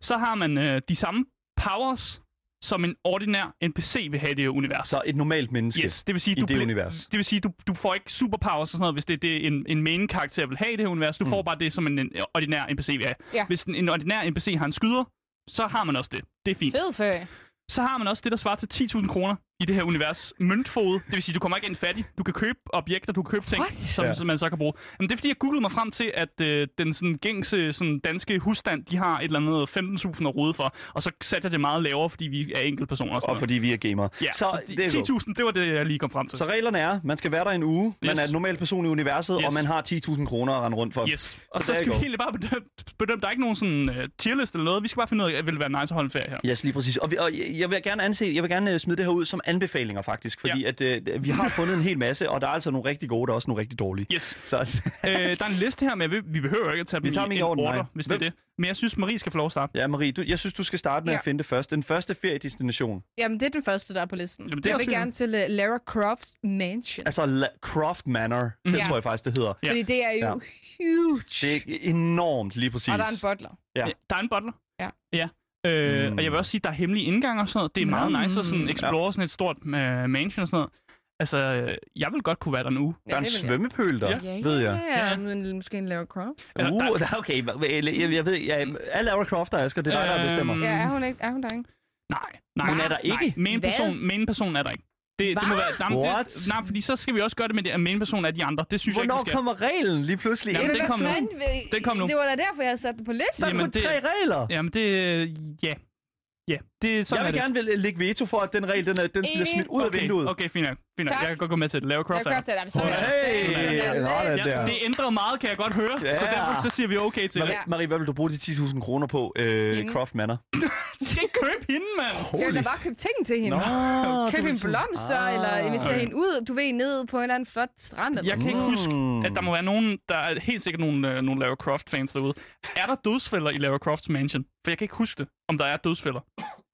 C: Så har man øh, de samme powers, som en ordinær NPC vil have i det univers.
B: Så et normalt menneske.
C: Yes, det vil sige,
B: i
C: du,
B: det
C: bl-
B: univers.
C: Det vil sige, du, du får ikke superpowers og sådan noget, hvis det er det, en, en main karakter vil have i det her univers. Du mm. får bare det, som en, en ordinær NPC vil have.
D: Ja.
C: Hvis en, en ordinær NPC har en skyder, så har man også det. Det er fint.
D: Fed ferie.
C: Så har man også det, der svarer til 10.000 kroner i det her univers møntfod. Det vil sige, du kommer ikke ind fattig. Du kan købe objekter, du kan købe ting,
D: What?
C: som
B: Ja.
C: ja. man så kan bruge. Jamen, det er fordi, jeg googlede mig frem til, at øh, den sådan, gængse sådan, danske husstand, de har et eller andet 15.000 at rode for. Og så satte jeg det meget lavere, fordi vi er enkeltpersoner. Og, sådan
B: Og fordi vi er gamere.
C: noget. ja,
B: så,
C: så,
B: det er godt.
C: så 10.000, det var det, jeg lige kom frem til.
B: så reglerne er, man skal være der en uge, man
C: Yes.
B: er en normal person i universet,
C: Yes.
B: og man har 10.000 kroner at rende rundt for.
C: Yes. Og
B: Så der
C: så, så
B: er
C: skal
B: I
C: vi
B: går.
C: egentlig bare bedømme, bedømme, der er ikke nogen sådan uh, tierliste eller noget. Vi skal bare finde ud af, at det vil være nice at holde en ferie her.
B: Yes, lige præcis. Og, vi, og jeg- jeg vil gerne anse, jeg vil gerne øh, smide det her ud som anbefalinger faktisk, fordi ja. at øh, vi har fundet en hel masse, og der er altså nogle rigtig gode, der er også nogle rigtig dårlige.
C: Yes.
B: Så
C: Øh, der er en liste her, men jeg ved- vi behøver ikke at tage dem
B: Vi tager dem
C: i
B: i
C: en
B: orden,
C: order,
B: nej.
C: hvis det er det. Men jeg synes, Marie skal få lov at starte.
B: ja, Marie, du, jeg synes du skal starte med
D: Ja.
B: at finde det først. Den første feriedestination.
D: Jamen, det er den første, der er på listen.
C: Jamen, det er
D: jeg
C: også
D: vil
C: fint.
D: gerne til uh, Lara Crofts Mansion. Altså,
B: Altså La- Croft Manor, det
D: Ja.
B: tror jeg faktisk det hedder.
C: ja.
D: fordi det er jo
B: Ja.
D: ja. huge.
B: Det er e- enormt lige præcis.
D: Og der er en butler.
B: Ja.
C: Øh, Der er en butler.
D: Ja.
C: ja. Øh,
B: Mm.
C: Og jeg vil også sige, at der er hemmelige indgange og sådan noget. Det er meget
D: Mm.
C: nice at sådan explore sådan et stort uh, mansion og sådan noget. Altså, øh, jeg vil godt kunne være der nu.
B: Der er en
D: det vil jeg.
B: svømmepøl der,
D: Ja,
B: ved jeg.
D: Ja,
C: Ja.
D: ja. Men måske en Lara Croft.
C: Eller
B: Uh, der, okay, hva- hva- jeg, jeg, jeg ved, jeg, alle Lara Croft og Asger, det er dig, der
C: Øhm,
B: bestemmer.
D: Ja, er hun ikke? Er hun der ikke?
C: Nej, nej.
B: Hun er der ikke?
C: Nej, main
D: Hvad?
C: person, main person er der ikke. Det, det må være, nej, men
B: What?
C: det, nej, fordi så skal vi også gøre det med det, at main person er de andre. Det synes jeg
B: Hvornår
C: ikke, vi skal.
B: kommer reglen lige pludselig?
C: Jamen,
B: Jamen,
C: den
D: hvad
C: kom nu.
D: fanden vil-
C: Den kom nu.
D: Det var da derfor, jeg havde sat det på listen.
B: der er
C: Jamen,
B: kun
C: det-
B: tre regler.
C: Jamen det, øh, ja. Ja, det er sådan
B: jeg
C: er
B: vil
C: det.
B: gerne vil øh, lægge veto for, at den regel den er, den bliver
D: Enig.
B: smidt ud af
C: okay,
B: vinduet.
C: Okay, fint nok. Fint nok.
D: Tak.
C: Jeg kan godt gå med til det. Lave
D: Lara
C: Croft.
D: Croft er altså. der. Så er
B: Hey,
D: jeg selv. Så er jeg
B: sådan
D: lidt.
B: der.
C: Ja, det ændrede meget, kan jeg godt høre.
B: Ja.
C: Så derfor så siger vi okay til det.
B: Marie, Marie, hvad vil du bruge de 10.000 kroner på, øh,
D: Hende.
B: Croft Manor?
C: Du skal ikke købe hende, mand.
D: Jeg vil da bare købe ting til hende.
B: Nå,
D: Køb en blomster, ah, eller invitere
C: okay.
D: hende ud, du ved, ned på en eller anden flot strand. Eller
C: Jeg kan ikke
D: sådan
C: huske,
B: Mm.
C: at der må være nogen, der er helt sikkert nogle, øh, nogle Lara Croft-fans derude. Er der dødsfælder i Lara Crofts mansion? For jeg kan ikke huske det, om der er dødsfælder.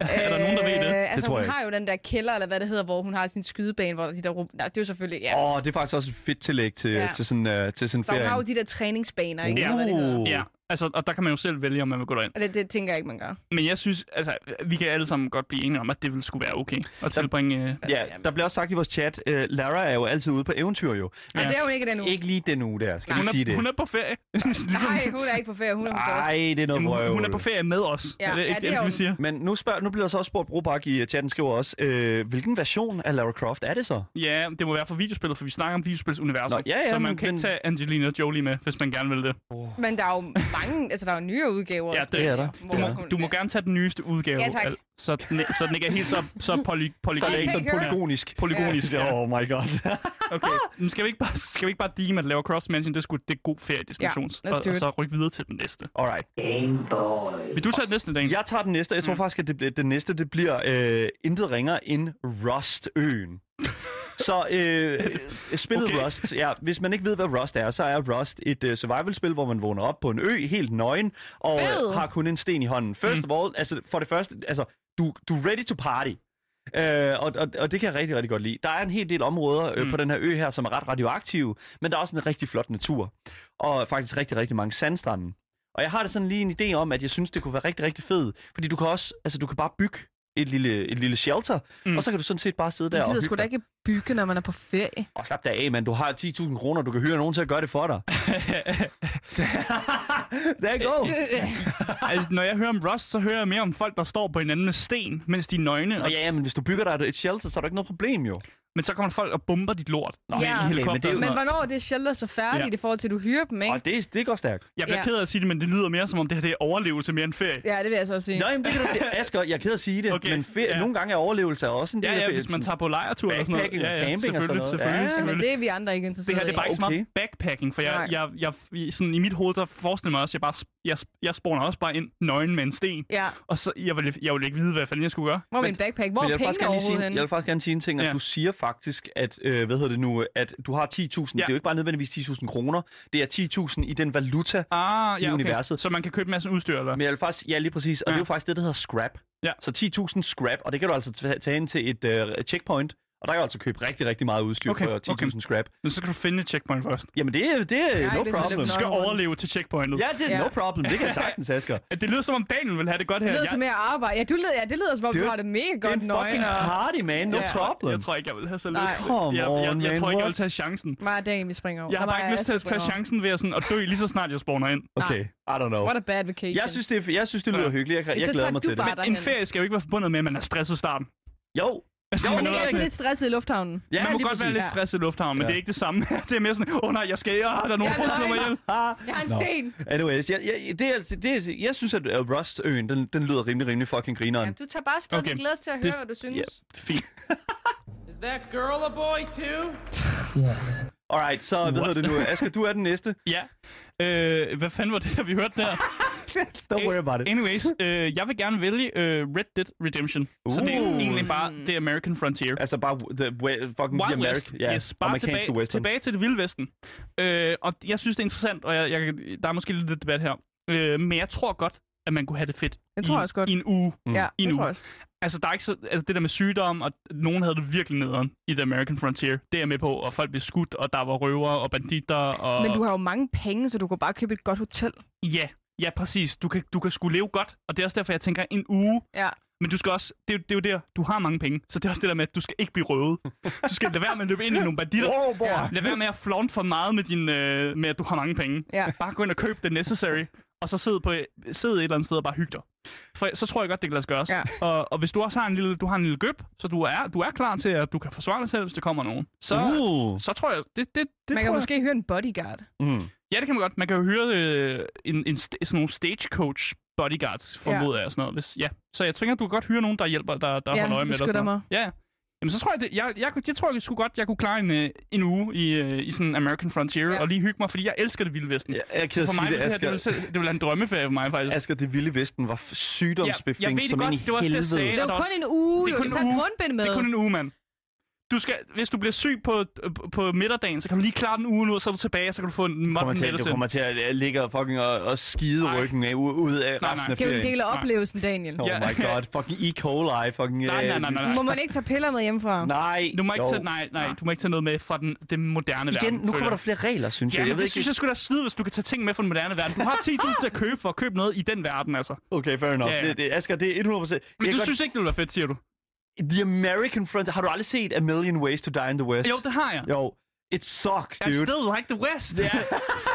D: noget.
C: er der nogen, der ved det?
D: Øh, altså,
B: tror
D: hun
B: jeg ikke.
D: har jo den der kælder, eller hvad det hedder, hvor hun har sin skydebane, hvor de der rum... Nej, det er jo selvfølgelig... Ja.
B: Åh, oh, det er faktisk også et fedt tillæg til,
D: Ja.
B: til sådan, uh, til sådan
D: så hun har jo
B: ferie.
D: de der træningsbaner, ikke?
C: Ja.
D: Eller Hvad det hedder.
B: Uh.
C: Ja, Altså, og der kan man jo selv vælge, om man vil gå derind.
D: Og det, det tænker jeg ikke, man gør.
C: Men jeg synes, altså, vi kan alle sammen godt blive enige om, at det ville skulle være okay at tilbringe... Øh,
B: Ja, der bliver også sagt i vores chat, uh, Lara er jo altid ude på eventyr jo.
D: Ja. det er hun ikke den uge.
B: Ikke lige den uge der, skal vi sige
C: hun, er,
B: det?
C: hun er på ferie. ligesom,
D: Nej, hun er ikke på ferie. Hun er hos os.
B: Nej, det er noget
C: Jamen, hun,
B: vrøvl.
C: hun er på ferie med os.
D: Ja,
C: er det
D: ja,
C: ikke
D: det er
C: det, vi
D: hun.
C: siger?
B: Men nu, spørg, nu bliver der så også spurgt, Brobak i chatten skriver også, øh, hvilken version af Lara Croft er det så?
C: Ja, det må være for videospillet, for vi snakker om videospilsuniverset.
B: Nå, ja, ja,
C: så man
B: men-
C: kan
B: men-
C: ikke tage Angelina Jolie med, hvis man gerne vil det.
D: Men der er jo mange, altså der er jo nyere udgaver.
C: Ja,
D: også,
C: det
B: er der.
D: hvor
B: Det er
C: Du
D: man
B: der.
C: må,
D: kunne-
C: du må gerne tage den nyeste udgave,
D: Ja, tak.
C: al- så, den, så den ikke er helt så, så poly, polygonal.
D: Take her.
B: Polygonisk.
C: Polygonisk, ja.
B: Oh my god.
C: Okay. Men skal vi ikke bare, skal vi ikke bare dime, at lave cross mention? Det, skulle, det er god feriedestination.
D: Ja, let's
C: og,
D: do
C: og,
D: it.
C: så rykke videre til den næste.
B: Alright.
C: Vil du tage den næste, Dan?
B: Jeg tager den næste. Jeg tror faktisk, at det, bliver- den næste det bliver øh, intet ringer end Rust-øen. Så øh, øh, spillet
C: Okay.
B: okay. Rust, ja, hvis man ikke ved, hvad Rust er, så er Rust et øh, survival-spil, hvor man vågner op på en ø helt nøgen, og
D: Fed.
B: øh, har kun en sten i hånden. First of all, altså for det første, altså, du, du er ready to party. Øh, og, og, og det kan jeg rigtig, rigtig godt lide. Der er en hel del områder øh,
C: Mm.
B: på den her ø her, som er ret radioaktive, men der er også en rigtig flot natur. Og faktisk rigtig, rigtig mange sandstrande. Og jeg har det sådan lige en idé om, at jeg synes, det kunne være rigtig, rigtig fedt. Fordi du kan også, altså du kan bare bygge et lille, et lille shelter,
C: Mm.
B: mm. og så kan du sådan set bare sidde der
D: Man
B: og
D: gider sgu
B: hygge
D: da
B: dig.
D: ikke bygge, når man er på ferie.
B: Og slap dig af, mand. Du har 10.000 kroner, du kan hyre nogen til at gøre det for dig. There you go.
C: altså, når jeg hører om Rust, så hører jeg mere om folk, der står på hinanden med sten, mens de er nøgne.
B: Og
C: Og,
B: ja, ja, men hvis du bygger dig et shelter, så er der ikke noget problem jo.
C: men så kommer folk og bomber dit lort. Nå,
D: Ja.
C: ja,
D: Okay,
C: i
D: men
C: helikopter
B: det er jo-
C: og sådan
D: Men
C: noget.
D: hvornår er det shelter så færdigt
C: Ja.
D: i forhold til, at du hyrer dem, ikke?
B: Og det, det går stærkt.
C: Jeg bliver
D: Ja.
C: ked af at sige det, men det lyder mere som om det her det er overlevelse mere end ferie.
D: Ja, det vil jeg så også sige.
B: Nå, jamen, det kan du... det- Asger, jeg er ked af at sige det,
C: Okay,
B: okay. men fe-
C: ja.
B: ja. nogle gange er overlevelse også en del
C: Ja,
B: af
C: ja,
B: ferie.
C: hvis man tager på lejretur og sådan noget.
B: Backpacking og
C: Ja, ja,
B: camping og sådan
C: selvfølgelig,
B: noget.
C: Selvfølgelig,
B: Ja, ja.
D: Jamen,
C: selvfølgelig.
D: det er vi andre ikke
C: Det
D: interesseret
C: her det er bare ikke så meget backpacking, for jeg, jeg, jeg, jeg, sådan, i mit hoved, der forestiller jeg mig også, at jeg, bare, sp- jeg, sp- jeg spawner også bare ind nøgen med en sten.
D: Ja,
C: Og så, jeg ville, jeg ville ikke vide, hvad fanden jeg skulle gøre.
D: hvor er
B: Men-
D: min backpack? Hvor
B: Men
D: er
B: jeg vil, faktisk gerne
D: pengene
B: lige
D: overhovedet
B: sige, jeg vil faktisk gerne sige en ting, at
C: Ja.
B: ja. du siger faktisk, at, øh, hvad hedder det nu, at du har 10.000. Ja. Det er jo ikke bare nødvendigvis 10.000 kroner, det er 10.000 i den valuta.
C: Ah, ja, okay.
B: universet.
C: Så man kan købe en masse udstyr, eller?
B: Men jeg vil faktisk, ja lige præcis, og
C: Ja.
B: ja. det er jo faktisk det, der hedder scrap.
C: Ja.
B: Så 10.000 scrap, og det kan du altså ta- tage ind til et øh, checkpoint, og der kan du altså købe rigtig, rigtig meget udstyr
C: Okay,
B: okay. for 10.000 okay. scrap.
C: Men så kan du finde et checkpoint først.
B: Jamen det, er- det er
D: Ja,
B: no
D: det er så
B: problem.
D: lidt
C: Du skal
D: Nå, hvor-
C: overleve til checkpointet.
B: Ja, det er
D: Ja.
B: no problem. Det kan jeg sagtens, Asger.
C: Det lyder som om Daniel vil have det godt her.
D: lyder til mere arbejde. Ja, du lyder, ja, det lyder som om,
B: Det er
D: du
B: jo-
D: har det mega
B: Det er
D: godt
B: en fucking
D: nøgen og...
B: party, man. No
D: Ja.
B: problem.
C: jeg tror ikke, jeg vil have så lyst.
D: Nej.
C: til-
B: Come
C: Jeg, jeg, jeg, jeg
B: on,
C: tror ikke,
B: man,
C: jeg vil tage chancen.
D: Mig og Daniel, vi springer over.
C: Jeg har
D: Nå,
C: bare ikke
D: nej,
C: lyst til at
D: jeg
C: tage
D: springer over.
C: chancen ved at, sådan, at dø lige så snart jeg spawner ind.
B: Okay, I don't know.
D: Ah. What a bad vacation.
B: Jeg synes, det, er- jeg synes, det lyder
C: Ja.
B: hyggeligt. Jeg,
D: Men så
B: jeg glæder
D: tager
B: mig
D: du
B: til det.
D: bare-
B: Men,
C: Men en ferie skal jo ikke være forbundet med, at man er stresset i starten.
B: jo,
C: Altså,
B: Jo,
D: Men
C: man,
D: det er
C: er
D: ikke
C: også,
D: lidt stresset i lufthavnen.
B: ja,
C: man må
B: lige
C: godt være
B: præcis.
C: lidt stresset i lufthavnen, men
B: Ja.
C: det er ikke det samme. det er mere sådan, åh oh, nej, jeg skal, ja, der er nogen,
D: Jeg
C: der
D: er
C: slår mig
D: nøgen.
C: ihjel.
B: Ah,
D: Jeg har en
B: Nå.
D: sten.
B: Anyways, jeg, jeg, det, er, altså, det er, jeg synes, at øh, Rust-øen, den, den lyder rimelig, rimelig fucking grineren.
D: Ja, du tager bare afsted.
C: Okay.
D: Vi glæder os til at
C: Det-
D: høre, hvad du synes.
B: ja.
C: Fint.
A: Is that girl a boy too?
B: Alright, så hvad
C: What?
B: hedder det nu? Asger, du er den næste.
C: Ja. Øh, hvad fanden var det, der vi hørte der?
B: Don't worry about it.
C: Anyways, øh, jeg vil gerne vælge øh, Red Dead Redemption. Uh. Så det er
B: Uh.
C: egentlig bare
D: Hmm.
C: The American Frontier.
B: Altså bare the, we, fucking
C: Wild
B: the
C: West,
B: American, ja,
C: yes, bare
B: amerikanske
C: tilbage,
B: western.
C: tilbage til det vilde vesten. Øh, og jeg synes, det er interessant, og jeg, jeg, der er måske lidt debat her. Øh, men jeg tror godt, at man kunne have det fedt
D: Jeg
C: i,
D: tror
C: en-
D: også godt.
C: i en uge.
D: Ja,
C: Mm. I
D: det
C: en
D: tror
C: uge.
D: jeg også.
C: Altså, der er ikke så, altså, det der med sygdom, og nogen havde det virkelig nederen i The American Frontier. Det er jeg med på, og folk blev skudt, og der var røver og banditter. Og...
D: Men du har jo mange penge, så du kan bare købe et godt hotel.
C: Ja, ja præcis. Du kan, du kan sgu leve godt, og det er også derfor, jeg tænker en uge.
D: Ja.
C: Men du skal også, det, er jo- det er jo der, du har mange penge, så det er også det der med, at du skal ikke blive røvet. Du skal lade være med at løbe ind i nogle banditter.
B: Wow, Oh, boy.
D: Ja.
C: Lad være med at flaunt for meget med, din, øh, med at du har mange penge.
D: Ja.
C: Bare gå ind og køb det necessary, og så sidde, på, sidde et eller andet sted og bare hygge dig. For så tror jeg godt, det kan lade sig gøres.
D: Ja.
C: Og, og hvis du også har en lille, du har en lille gøb, så du er, du er klar til, at du kan forsvare dig selv, hvis der kommer nogen. Så,
B: Uh.
C: så tror jeg, det, det, det
D: Man
C: tror
D: kan
C: jeg.
D: måske høre en bodyguard.
B: Mm.
C: Ja, det kan man godt. Man kan jo høre øh, en, en, st- sådan nogle stagecoach bodyguards, formoder jeg, og sådan noget. Hvis, ja. Så jeg tænker, du kan godt hyre nogen, der hjælper, der, der
D: Ja,
C: holder øje med dig. og
D: beskytter
C: sådan noget.
D: mig.
C: Ja, ja. Jamen, så tror jeg, det, jeg, jeg, jeg, jeg tror, jeg skulle godt, jeg kunne klare en, øh, en uge i, øh, i sådan American Frontier,
D: Ja.
C: ja. og lige hygge mig, fordi jeg elsker det vilde vesten.
B: Jeg, jeg
C: Så
B: kan
C: for mig,
B: sige det,
C: det, det, her, det, ville,
B: Asger.
C: selv- det ville være en drømmefag for mig,
D: Altså-
C: faktisk.
B: Asger, det vilde vesten var f-
C: Ja, jeg ved
B: sygdomsbefængt
C: det
B: som ind
C: godt.
B: i
C: Det var også det, jeg
B: helvede.
C: sagde.
D: Det er
C: der
D: jo
C: var-
D: kun en uge,
C: det er
D: jo.
C: kun
D: Du
C: en
D: tager et
C: uge.
D: mundbind med.
C: Det er kun en uge, mand. Du skal, hvis du bliver syg på, øh, på midterdagen, så kan du lige klare den ugen ud, så er du tilbage, og så kan du få en
B: kommer
C: modern
B: til, at- du
C: medicine.
B: kommer til at ligge og, fucking og, og skide
C: Nej.
B: ryggen af, u- ud af resten
C: nej.
B: af
D: Det er jo en
B: ferien.
D: del af
C: Nej.
D: oplevelsen, Daniel.
B: Oh
C: Ja.
B: my god, fucking E. coli, fucking...
C: Nej, nej,
B: øh,
C: nej, nej, nej.
D: Må man ikke tage piller med hjemmefra?
B: Nej,
C: Du må ikke
B: jo.
C: tage, nej, nej, du må ikke tage noget med fra den, den moderne
B: Igen,
C: verden.
B: nu kommer der flere regler, synes
C: Ja,
B: jeg.
C: jeg
B: Jeg
C: det synes
B: ikke...
C: jeg skulle da snyde, hvis du kan tage ting med fra den moderne verden. Du har 10.000 til at købe for at købe noget i den verden, altså. Men
B: Okay, fair enough.
C: Ja, ja.
B: Det, det, Asger, det er 100%. Jeg
C: du
B: kan godt-
C: synes ikke, det ville være fedt, siger du?
B: The American Front... Har du aldrig set A Million Ways to Die in the West?
C: Jo, det har jeg.
B: Jo. It sucks,
C: I'm
B: dude.
C: still like the West. Ja. jeg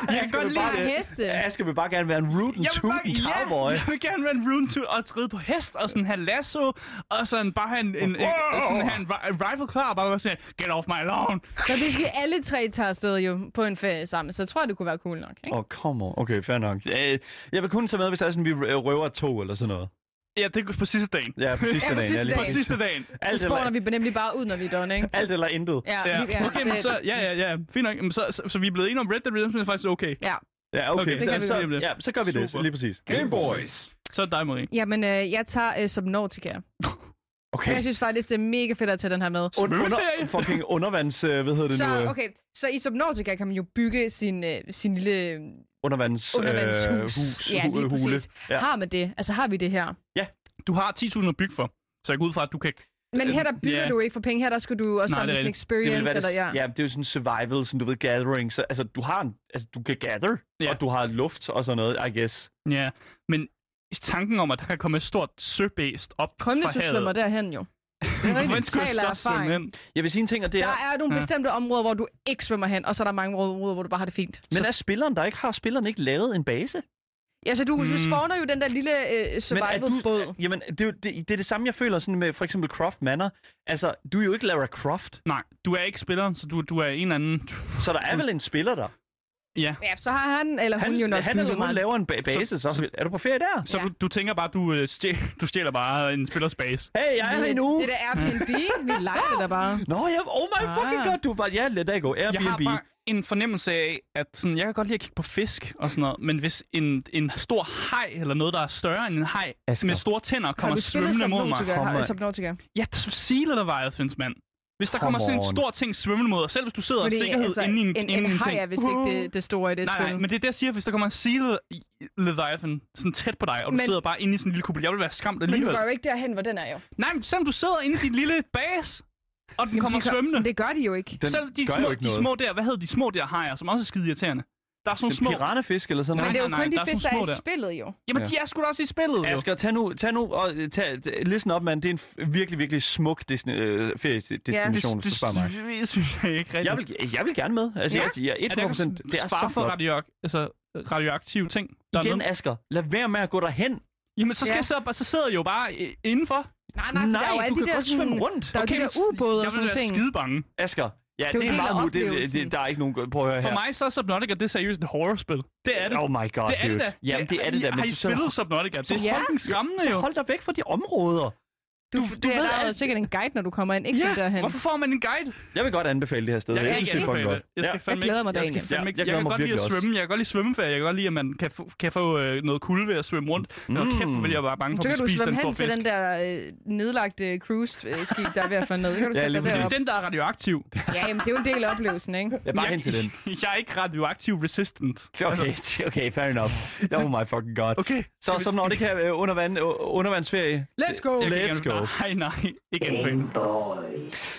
C: kan
B: Asger
C: godt
B: vil
C: lide...
B: bare-
D: lide heste.
B: Asger vil bare gerne være en rootin'
C: Jeg vil, bare,
B: tootin'
C: ja,
B: cowboy.
C: jeg vil gerne være en rune to og ride på hest og sådan have lasso og sådan bare have en, en, en,
B: Wow.
C: sådan have en, ri- en rifle klar og bare være sådan get off my lawn.
D: Så hvis vi alle tre tager afsted jo på en ferie sammen, så tror jeg, det kunne være cool nok. Ikke?
B: Åh, oh, come on. Okay, fair nok. Øh, Jeg vil kun tage med, hvis der er sådan, vi øh, røver et tog eller sådan noget.
C: Ja, det er på sidste dagen.
B: Ja, på sidste
D: Ja, på
B: dagen.
D: sidste
B: ja, lige
D: dagen.
C: På
B: præcis.
C: sidste dagen.
D: Så
B: Alt
D: spawner
B: eller,
D: vi nemlig bare ud, når vi er done, ikke?
B: alt eller intet.
D: Ja, vi,
C: Ja. Okay, men så, ja, ja, ja. Fint nok. Jamen, Så, så, så vi er blevet enige om Red Dead Redemption er faktisk okay.
D: ja.
B: Ja, okay.
C: Okay, det
B: så,
C: kan vi
B: så,
C: godt.
B: ja, så gør vi det.
C: Super.
B: Lige præcis.
E: Game Boys.
C: Så er det dig, Marie.
D: Jamen, øh, jeg tager øh, Subnautica.
B: Okay.
D: Jeg synes faktisk, det er mega fedt at tage den her med.
C: Smøgeferie?
B: fucking undervands... øh, Hvad hedder det nu?
D: Så,
B: øh,
D: okay, så i Subnautica kan man jo bygge sin, øh, sin lille øh,
B: Undervands... øh,
D: undervandshus.
B: hus,
D: ja,
B: hu-
D: lige
B: øh, hule.
D: præcis.
B: Ja.
D: Har man det? Altså har vi det her?
C: Du har 10.000 at bygge for, så jeg går ud fra, at du kan...
D: Men her der bygger
C: ja.
D: du ikke for penge. Her der skulle du også
C: Nej,
D: samle
C: det er
D: sådan en
C: rigtigt.
B: Det vil
D: experience.
B: være
D: eller, ja.
B: det, ja, det er jo sådan survival, sådan du ved, gathering. Så, altså, du har en, altså, du kan gather,
C: Ja.
B: ja. og du har luft og sådan noget, I guess.
C: Ja, men tanken om, at der kan komme et stort søbæst op
D: Kun
C: fra
D: hvis du
C: havet.
D: svømmer derhen jo.
C: Hvorfor
D: rigtigt.
C: skulle jeg
D: Taler
C: så svømme
D: erfaring.
C: ind?
B: Jeg vil sige en ting, og det er...
D: Der er nogle
C: Ja.
D: bestemte områder, hvor du ikke svømmer hen, og så er der mange områder, hvor du bare har det fint.
B: Men er spilleren der ikke? Har spilleren ikke lavet en base?
D: Ja, så du, du
C: Mm.
D: spawner jo den der lille øh, survival-båd.
B: jamen, det, er jo- det, det er det samme, jeg føler sådan med for eksempel Croft Manor. Altså, du er jo ikke Lara Croft,
C: Nej, du er ikke spiller, så du, du er en eller anden...
B: så der er vel en spiller der.
C: Ja,
D: Ja, så har han eller hun
B: Han,
D: jo nok
B: han eller
D: bygget
B: hun
D: meget.
B: laver en ba- base, så, så, er du på ferie der?
C: så
D: Ja.
C: Du, du tænker bare, du, øh, stjæl, du stjæler bare en spillers base.
B: Hey, jeg er her i en uge.
D: Det der Airbnb, vi leger det der bare.
B: Nå, ja, oh my fucking
D: Ah.
B: god, du er bare, ja, let that go,
C: Jeg har
B: Airbnb.
C: bare en fornemmelse af, at sådan, jeg kan godt lide at kigge på fisk og sådan noget, men hvis en, en stor haj eller noget, der er større end en haj
B: Asger.
C: med store tænder,
D: Har
C: kommer
D: du spillet
C: svømmende mod mig.
D: Subnautica?
B: Kom,
D: Har-
B: mand.
D: Subnautica?
C: Ja, det er silet der vejet, findes mand. Hvis der
B: Come
C: kommer sådan en
B: on.
C: stor ting svømmende mod dig, selv hvis du sidder i sikkerhed inde i en,
D: altså, en,
C: inde
D: en,
C: i
D: en haj
C: ting.
D: er vist ikke det, det store i det
C: Nej,
D: spil.
C: nej, men det er det, jeg siger, hvis der kommer en sealed Leviathan sådan tæt på dig, og du
D: Men-
C: sidder bare inde i sådan en lille kuppel. Jeg vil være skræmt
D: men du
C: alligevel.
D: går jo ikke derhen, hvor den er jo.
C: Nej, men selvom du sidder inde i dit lille base, og den kommer
D: de gør-
C: svømmende.
D: men Det gør de jo ikke.
B: Den
C: Selv de
B: gør
C: små,
B: jo ikke
C: de
B: noget.
C: små der, hvad hedder de små der hajer, som også er skide irriterende. Der er sådan nogle
B: Det er
C: små...
B: piranhafisk eller sådan
C: Nej,
B: noget.
D: Men det er jo
C: nej,
D: kun
C: der
D: de
C: er
D: fisk,
C: sådan
D: der er
C: små
D: i
C: der.
D: spillet jo.
C: Jamen,
B: Ja.
C: de er sgu da også i spillet, jo.
B: Asger, tag nu, tag nu og øh, tag, t- listen op, mand. Det er en f- virkelig, virkelig smuk Disney, øh, feriedestination, hvis du spørger mig.
C: det, det synes jeg ikke rigtigt.
B: Jeg vil, jeg vil gerne med. Altså,
D: Ja.
B: ja. jeg, jeg,
C: er der
B: 100 procent.
C: ikke
B: Det er så
C: far for
B: flot.
C: radioak- altså, radioaktive ting? Der er
B: Igen,
C: med?
B: Asger, lad være med at gå derhen.
C: Jamen, så, skal
D: Ja.
C: jeg så, så sidder jeg jo bare øh, indenfor.
D: Nej, nej, for der er jo
B: Nej,
D: alle
B: du
D: de
B: kan
D: der,
B: godt svømme
D: sådan-
B: rundt.
D: der er jo de der ubåde og
C: jeg vil
D: sådan
C: være
D: ting.
C: skide bange.
B: Asger, ja,
D: jo
B: det,
D: en
B: er
D: del af
B: meget muligt. Det, det,
D: oplevelsen.
B: det, der er ikke nogen... Prøv at høre
C: For
B: her.
C: mig så er Subnautica, det er seriøst et horrorspil. Det er det.
B: Oh my god,
C: det er det
B: dude.
C: da.
B: Jamen, det er det da.
C: Har I
B: du- så-
C: spillet Subnautica? Det
D: Ja.
C: er fucking skræmmende
B: Så
C: jo.
B: hold dig væk fra de områder.
D: Du,
B: Du-
D: du,
B: du
D: det er
B: ved
D: der er jo
B: alt.
D: sikkert en guide, når du kommer ind. Ikke ja, derhen.
C: Hvorfor får man en guide?
B: Jeg vil godt anbefale det her sted.
C: Jeg,
B: jeg
C: kan
B: synes,
C: ikke
B: det er fucking
C: anbefale
B: godt.
C: det. Jeg skal
B: Ja.
C: fandme
D: Jeg glæder mig
C: ikke. Jeg skal
D: dagen.
C: fandme
B: Ja, jeg
C: ikke. Jeg,
B: glæder
C: kan
B: mig
C: godt lide at
B: virkelig også.
C: svømme. Jeg kan godt lide svømmeferie. Jeg kan godt lide, at man kan få, kan få øh, noget kulde ved at svømme rundt. Men hold
B: Mm.
C: kæft, hvor vil jeg være bange for
D: Så
C: at
D: kan du
C: spise
D: svømme
C: den
D: hen
C: store
D: til
C: fisk.
D: den der øh, nedlagte cruise-skib, der er ved at falde ned. Så Kan du
B: Ja,
D: sætte
B: lige
D: dig
B: præcis.
C: Det
D: derop?
C: er den, der er radioaktiv.
D: Ja, jamen, det er jo en del af oplevelsen, ikke?
B: Jeg er bare hen til den.
C: Jeg er ikke radioaktiv resistant.
B: Okay, okay, fair enough. Oh my fucking god.
C: Okay.
B: Så som når det kan øh, undervand, øh, undervandsferie.
D: Let's go!
C: Jeg kan ikke
B: Let's go.
C: anbefale- Nej, nej. Ikke anbefale.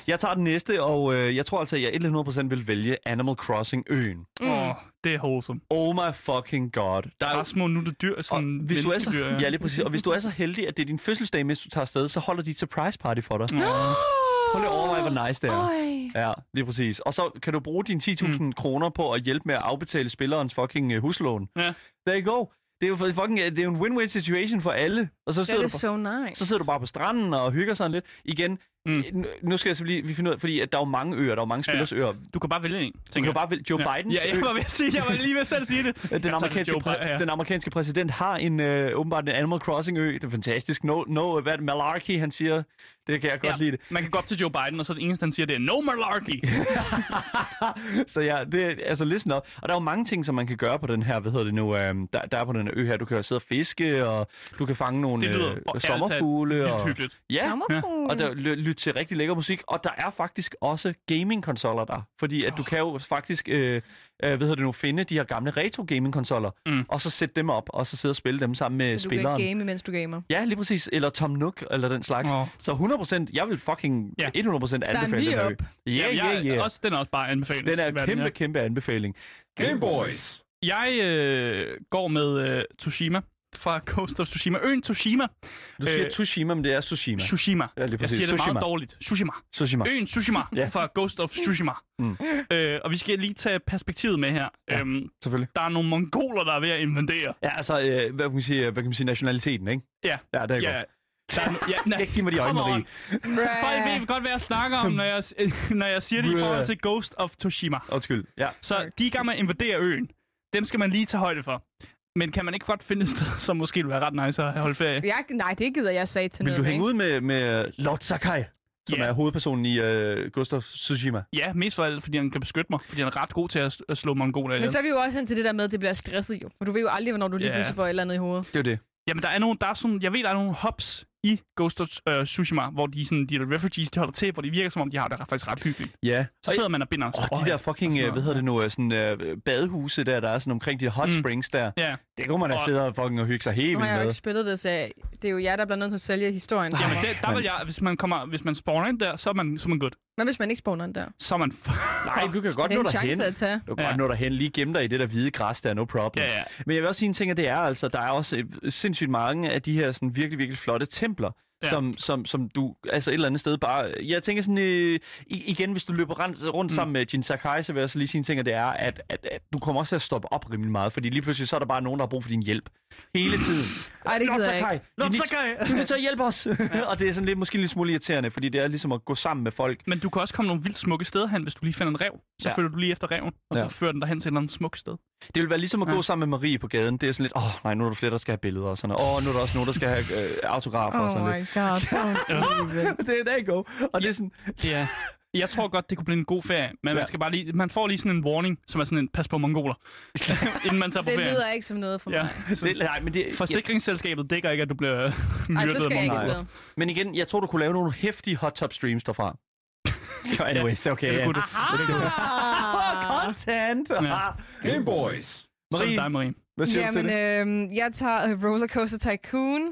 B: Jeg tager den næste, og øh, jeg tror altså, at jeg 100% vil vælge Animal Crossing øen.
D: Mm.
C: Åh, det er wholesome.
B: Oh my fucking god. Der er,
C: Bare små nutte dyr,
B: og,
C: sådan
B: hvis du er så,
C: menneskedyr,
B: ja, lige præcis. Og hvis du er så heldig, at det er din fødselsdag, mens du tager afsted, så holder de et surprise party for dig.
C: Åh.
B: Prøv lige at overveje, hvor nice det er.
D: Ej.
B: Ja, lige præcis. Og så kan du bruge dine 10.000 mm. kroner på at hjælpe med at afbetale spillerens fucking øh, huslån.
C: Ja.
B: There you go. Det er jo fucking, øh, det er jo en win-win situation for alle. Og så sidder,
D: That
B: du
D: is
B: på,
D: so nice.
B: så sidder du bare på stranden og hygger sådan lidt. Igen,
C: Mm.
B: mm. nu skal jeg så lige vi finder ud af, fordi at der er jo mange øer, der er jo mange
C: Ja.
B: spillers ja. øer.
C: Du kan bare vælge en,
B: Du kan
C: tænker
B: jo bare vælge Joe
C: Ja.
B: Bidens
C: Ja, jeg
B: ø.
C: var, ved at sige, jeg var lige ved at selv sige det. Jeg
B: Den
C: tager
B: amerikanske,
C: Joe Biden,
B: præ-
C: ja.
B: den amerikanske præsident har en øh, åbenbart en Animal Crossing ø. Det er fantastisk. No, no, hvad er det, Malarkey, han siger. Det kan jeg godt
C: Ja,
B: lide.
C: Man kan gå op til Joe Biden, og så det eneste, han siger, det er no malarkey.
B: så ja, det er- altså listen op. Og der er jo mange ting, som man kan gøre på den her, hvad hedder det nu, øhm, der, der er på den her ø her. Du kan jo sidde og fiske, og du kan fange nogle
C: Det
B: øh,
C: lyder og ærligt talt
B: sommerfugle.
C: Vildt
B: Og,
C: hyggeligt.
B: ja,
D: Sommerfugl.
B: og der, ly, ly, lytte til rigtig lækker musik, og der er faktisk også gaming-konsoller der. Fordi at du kan jo faktisk øh, øh, hvad hedder det nu, finde de her gamle retro gaming-konsoller,
C: Mm.
B: mm. og så sætte dem op, og så sidde og spille dem sammen med
D: Så du kan
B: spilleren.
D: ikke game, mens du gamer.
B: Ja, lige præcis. Eller Tom Nook, eller den slags.
C: Åh.
B: Oh. Så 100%, jeg vil fucking
C: Ja.
B: ja. 100% anbefale
D: lige
B: den her.
D: op.
B: Ja,
C: Jamen,
B: ja,
C: jeg,
B: ja.
C: Også, den er også bare anbefalet.
B: Den er kæmpe, kæmpe anbefaling.
E: Game Boys.
C: Jeg øh, går med øh, Tsushima fra Coast of Tsushima. Øen Tsushima.
B: Du siger
C: Øh,
B: Tsushima, men det er Tsushima.
C: Tsushima.
B: Ja, lige
C: Jeg
B: præcis.
C: siger det
B: Tsushima.
C: meget dårligt. Tsushima.
B: Tsushima.
C: Øen Tsushima
B: Ja.
C: fra Ghost of Tsushima.
B: Mm.
C: Øh, og vi skal lige tage perspektivet med her. Ja. Øhm,
B: Selvfølgelig.
C: der er nogle mongoler, der er ved at invadere.
B: Ja, altså, øh, hvad, kan man sige, hvad kan man sige, nationaliteten, ikke?
C: Ja.
B: Ja, det er ja. godt.
C: Der er, ja, nej,
B: Ikke give mig de øjne,
C: Come on.
B: Marie.
C: Folk ved godt, hvad jeg snakker om, når jeg, når jeg siger det i
B: Bruh.
C: forhold til Ghost of Tsushima.
B: Undskyld. Ja.
C: Så de er i gang med at invadere øen. Dem skal man lige tage højde for. Men kan man ikke godt finde et sted, som måske ville være ret nice at holde ferie?
D: Jeg, nej, det gider jeg sige til
B: Vil
D: noget.
B: du hænge ud med, med Lord Sakai, som
C: Ja.
B: er hovedpersonen i øh, Gustav Tsushima?
C: Ja, mest for alt, fordi han kan beskytte mig. Fordi han er ret god til at, at slå mongoler ihjel.
D: Men så er vi jo også hen til det der med, at det bliver stresset jo. For du ved jo aldrig, hvornår du lige
C: Ja.
D: pludselig får et eller andet i hovedet.
B: Det er jo det.
C: Jamen, der er nogle, der er sådan, jeg ved, der er nogle hops i Ghost of øh, Tsushima, hvor de, sådan, de der refugees, de holder til, hvor det virker, som om de har det faktisk ret hyggeligt.
B: Ja.
C: Så sidder man og binder
B: Og de der fucking, øh, hvad hedder det nu, øh, sådan, øh, badehuse der, der er sådan omkring de hot
C: Mm.
B: springs der.
C: Ja,
B: Det kunne man da
C: Og-
B: sidde og fucking og hygge sig helt
D: Nu
B: vildt
D: har jeg jo
B: med.
D: ikke spillet det, så jeg- det er jo jer, der bliver nødt til at sælge historien. til
C: jamen
D: mig.
C: det, der vil jeg, hvis man, kommer, hvis man spawner ind der, så er man, så er man good.
D: Men hvis man ikke spawner den der,
C: Så er man f-
B: Nej, du kan
D: er
B: godt
D: det
B: nå
D: en chance
B: derhen.
D: at tage.
B: Du kan
C: Ja.
B: godt nå derhen. Lige gemme dig i det der hvide græs der, no problem.
C: Ja, ja.
B: Men jeg vil også sige en ting, at det er altså, der er også øh, sindssygt mange af de her sådan, virkelig, virkelig flotte templer,
C: Ja.
B: ja. som, som, som du altså et eller andet sted bare... Jeg tænker sådan, øh, i- igen, hvis du løber rundt, rundt mm. sammen med Jin Sakai, så vil jeg også lige sige en ting, at det er, at, at, at du kommer også til at stoppe op rimelig meget, fordi lige pludselig så er der bare nogen, der har brug for din hjælp. Hele tiden.
D: Ej, det
B: Lord
D: gider jeg
B: Sakai,
D: ikke.
B: vi er nødt- Du er nødt til at hjælpe os! Ja. og det er sådan lidt, måske lidt smule irriterende, fordi det er ligesom at gå sammen med folk.
C: Men du kan også komme nogle vildt smukke steder hen, hvis du lige finder en rev. Så ja.
B: Ja.
C: følger du lige efter reven, og ja.
B: Ja.
C: så fører den dig hen til et eller andet smukt sted.
B: Det vil være ligesom at
C: Ja.
B: gå sammen med Marie på gaden. Det er sådan lidt, åh oh, nej, nu er der flere, der skal have billeder og sådan noget. Åh, oh, nu er der også nogen, der skal have øh, autografer og
D: Oh
B: sådan lidt.
D: my god. Oh,
B: det er en dag go. Og det er sådan,
C: Ja. Jeg tror godt, det kunne blive en god ferie, men ja. man,
B: Ja.
C: skal bare lige, man får lige sådan en warning, som er sådan en, pas på mongoler, inden man tager på
D: det
C: ferie.
D: lyder ikke som noget for mig.
C: Ja, sådan,
B: det, nej, men, det, ja,
C: Forsikringsselskabet dækker ikke, at du bliver
D: Ej,
C: myrdet
D: så
C: af
D: skal jeg ikke
C: mongoler.
D: afsted.
B: men igen, jeg tror, du kunne lave nogle heftige hot top streams derfra. So anyways, okay.
C: det
B: ja.
C: kunne du.
D: Ah.
B: Content!
C: Ja.
B: Ja.
E: Game Boys.
C: Marie.
B: Marie.
C: dig, Marie.
B: Hvad siger du
D: Jamen,
B: til det?
D: øh, jeg tager øh, Rollercoaster Tycoon.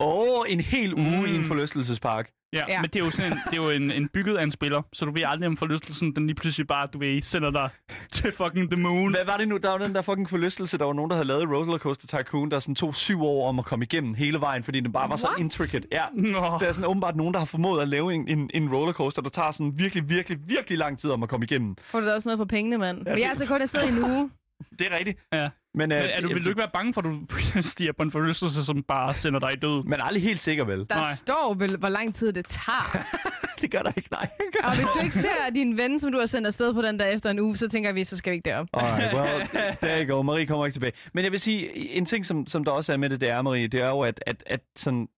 B: Åh, oh, en hel uge mm. i
C: Mm.
B: en forlystelsespark.
C: Ja, ja,
D: Ja.
C: men det er jo, sådan en, det er jo en, en bygget af en spiller, så du ved aldrig, om forlystelsen den lige pludselig bare, du ved, sender dig til fucking the moon.
B: Hvad var det nu? Der var den der fucking forlystelse, der var nogen, der havde lavet Rollercoaster Tycoon, der sådan tog syv år om at komme igennem hele vejen, fordi den bare var så
D: What?
B: intricate. Ja.
C: Nå.
B: Der er sådan åbenbart nogen, der har formået at lave en, en, en rollercoaster, der tager sådan virkelig, virkelig, virkelig lang tid om at komme igennem.
D: Får du da også noget for pengene, mand? Men jeg er altså kun afsted i en uge.
B: Det er rigtigt.
C: Ja.
B: Men, øh,
C: Men er du, vil du ikke være bange for, at du stiger på en forlystelse, som bare sender dig i død?
B: man er aldrig helt sikker, vel?
D: Der
C: Nej.
D: står vel, hvor lang tid det tager.
B: Det gør der ikke, nej.
D: Og hvis du ikke ser din ven, som du har sendt afsted på den der efter en uge, så tænker vi, så skal vi ikke derop.
B: Alright, well, there you go. Marie kommer ikke tilbage. Men jeg vil sige, en ting, som, som der også er med det, det er, Marie, det er jo, at, at, at sådan,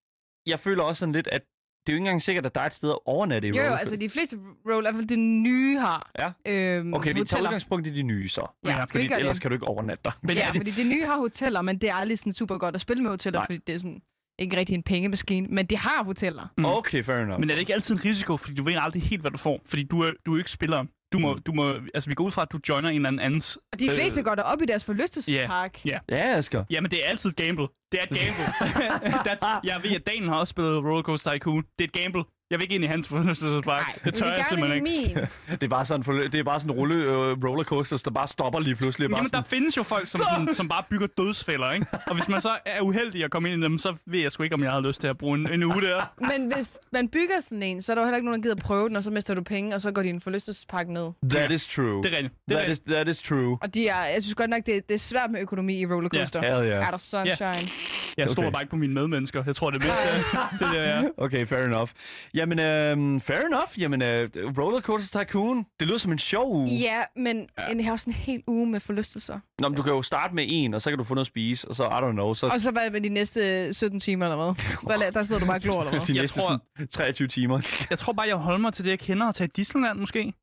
B: jeg føler også sådan lidt, at det er jo ikke engang sikkert, at der er et sted at overnatte i
D: Jo, jo,
B: Rollers-
D: altså de fleste roller, i hvert fald det nye har.
B: Ja.
D: Øhm,
B: Okay, vi tager
D: hoteller.
B: udgangspunkt i de nye så.
D: Ja, skal vi
B: fordi
D: gøre det?
B: ellers kan du ikke overnatte dig.
C: Men
D: ja,
C: er det-
D: fordi det nye har hoteller, men det er aldrig sådan super godt at spille med hoteller,
B: Nej.
D: fordi det er sådan ikke rigtig en pengemaskine, men det har hoteller.
C: Mm.
B: Okay, fair enough.
C: Men er det ikke altid en risiko, fordi du ved aldrig helt, hvad du får? Fordi du er, du er jo ikke spilleren. Du må, du må, altså vi går ud fra, at du joiner en eller andens.
D: Og de fleste går derop i deres forlystelsespark.
C: Øh. ja.
B: Ja, Asger.
C: Jamen, det er altid et gamble. Det er et gamble. That's, jeg ved, at Dan har også spillet Rollercoaster Tycoon. Det er et gamble. Jeg vil ikke ind i hans forlystelsespark. Det tør
D: vi vil
C: jeg
D: gerne
C: simpelthen ikke.
D: ind i min.
B: Det er bare sådan, for, det er bare sådan en rulle øh, rollercoasters, der bare stopper lige pludselig. og Bare
C: Jamen, der
B: sådan,
C: findes jo folk, som, sådan, som bare bygger dødsfælder, ikke? Og hvis man så er uheldig at komme ind i dem, så ved jeg sgu ikke, om jeg har lyst til at bruge en, en uge der.
D: Men hvis man bygger sådan en, så er der jo heller ikke nogen, der gider at prøve den, og så mister du penge, og så går din forlystelsespark ned.
B: That is true.
C: Det er rigtigt. Det er
B: That is,
C: rigtigt.
B: that is true.
D: Og de er, jeg synes godt nok, det, det er svært med økonomi i rollercoaster.
B: Ja, hell yeah.
D: Er der sunshine?
C: Jeg stoler
B: Okay.
C: bare ikke på mine medmennesker. Jeg tror, det er mest det, det der, ja.
B: Okay, fair enough. Jamen, øh, fair enough. Jamen, øh, Rollercoaster Tycoon, det lyder som en sjov uge.
D: Ja, men en, jeg har også en hel uge med forlystelser.
B: Nå, men du kan jo starte med en, og så kan du få noget at spise, og så, I don't know, så
D: Og så var det med de næste 17 timer eller hvad? Der, la- der sidder du bare og glor eller hvad?
B: de
C: Jeg
B: næste
C: tror-
B: sådan, 23 timer.
C: Jeg tror bare, jeg holder mig til det, jeg kender, og tager i Disneyland måske.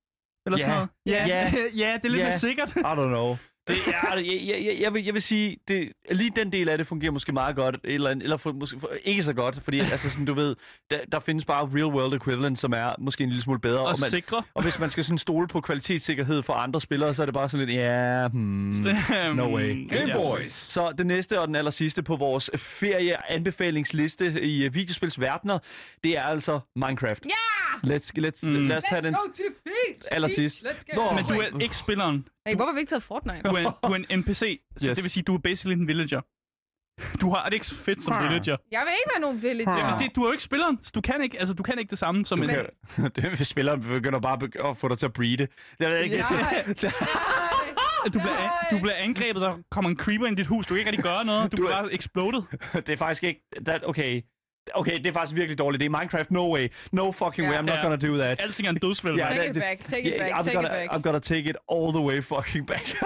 C: Eller
B: Ja.
C: sådan noget.
B: Ja.
C: ja, det er lidt
B: Ja.
C: mere sikkert.
B: I don't know. Det er, jeg, jeg, jeg, jeg, vil, jeg vil sige, det, lige den del af det fungerer måske meget godt, eller, eller for, måske, for, ikke så godt, fordi altså, sådan, du ved, der, der findes bare real world equivalent, som er måske en lille smule bedre.
C: Og sikre.
B: og hvis man skal sådan stole på kvalitetssikkerhed for andre spillere, så er det bare sådan lidt, ja, hmm,
C: Mm.
B: no way.
E: Game
C: Øhm, Ja.
E: Boys.
B: Så det næste og den aller sidste på vores ferieanbefalingsliste i øh, videospilsverdener, det er altså Minecraft.
D: Ja!
B: Let's, let's, mm. lad os tage den
A: to the beach.
B: allersidst.
A: Let's get
B: Nå,
A: it.
C: Men du er ikke spilleren.
D: Hey, hvorfor har vi ikke taget Fortnite?
C: Du er, du er en NPC, så
B: Yes.
C: yes. det vil sige, du er basically en villager. Du har det ikke så fedt som villager.
D: Jeg vil ikke være nogen villager.
C: Jamen, det, du er jo ikke spilleren, så du kan ikke, altså, du kan ikke det samme som en...
D: kan-
B: det hvis spilleren begynder bare at beg- at få dig til at breede. Det er ikke.
D: Nej.
C: Du bliver, du bliver angrebet, der kommer en creeper ind i dit hus, du kan ikke rigtig gøre noget, du,
B: Du er-
C: du bliver bare exploded.
B: det er faktisk ikke... That, okay. Okay, det er faktisk virkelig dårligt. Det er Minecraft, no way. No fucking way, I'm not
C: Ja.
B: gonna do that.
C: Alting er en dødsfælde.
B: Ja,
C: Yeah.
D: Take it
B: det-
D: back, take it
B: Yeah,
D: back,
B: I'm
D: take it
B: gonna,
D: back.
B: I'm gonna take it all the way fucking back.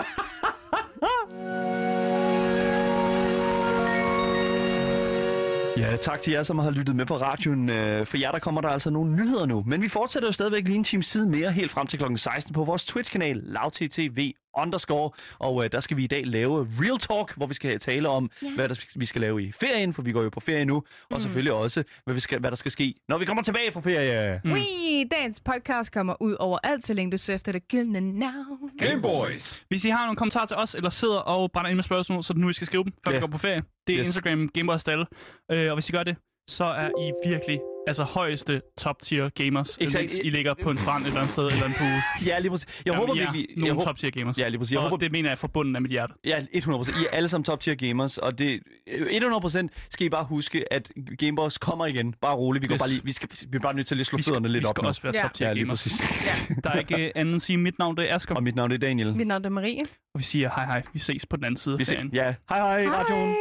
B: Ja, tak til jer, som har lyttet med på radioen. Øh, For jer, der kommer der altså nogle nyheder nu. Men vi fortsætter jo stadigvæk lige en times tid mere, helt frem til kl. 16 på vores Twitch-kanal, lavttv underscore. Og øh, der skal vi i dag lave Real Talk, hvor vi skal tale om, ja. hvad der, vi skal lave i ferien, for vi går jo på ferie nu.
D: Mm.
B: Og selvfølgelig også, hvad, vi skal, hvad der skal ske, når vi kommer tilbage fra ferie.
D: Mm. Wee! Dagens podcast kommer ud over alt, så længe du søger efter det gyldne navn.
E: Game Boys.
C: Hvis I har nogle kommentarer til os, eller sidder og brænder ind med spørgsmål, så er det nu, I skal skrive dem,
B: Ja.
C: før yeah. vi går på ferie. Det er
B: Yes.
C: yes. Instagram, Gameboys Dalle. Øh, og hvis I gør det, så er I virkelig altså højeste top tier gamers,
B: Exakt.
C: mens I ligger på en strand et eller andet sted, eller en pool.
B: Ja, lige præcis. Jeg håber
C: I er
B: virkelig... Jeg
C: nogle
B: håber,
C: top tier gamers.
B: Ja, lige præcis. Jeg
C: og
B: håber-
C: det mener jeg fra bunden af mit hjerte.
B: Ja, 100%. I er alle sammen top tier gamers, og det, 100% skal I bare huske, at Gameboys kommer igen. Bare roligt, vi, går
C: Yes.
B: bare lige, vi, skal, vi er bare nødt til at lige slå fødderne lidt
C: vi
B: op
C: skal
B: nu.
C: også være
D: Ja.
C: top tier
B: ja, lige
C: gamers.
B: præcis.
C: Der er ikke øh, andet at sige. Mit navn det er Asger,
B: og mit navn er Daniel.
D: Mit navn er Marie.
C: og vi siger hej hej. Vi ses på den anden side af
B: Vi ses.
C: ferien.
B: Ja, hej hej, radioen.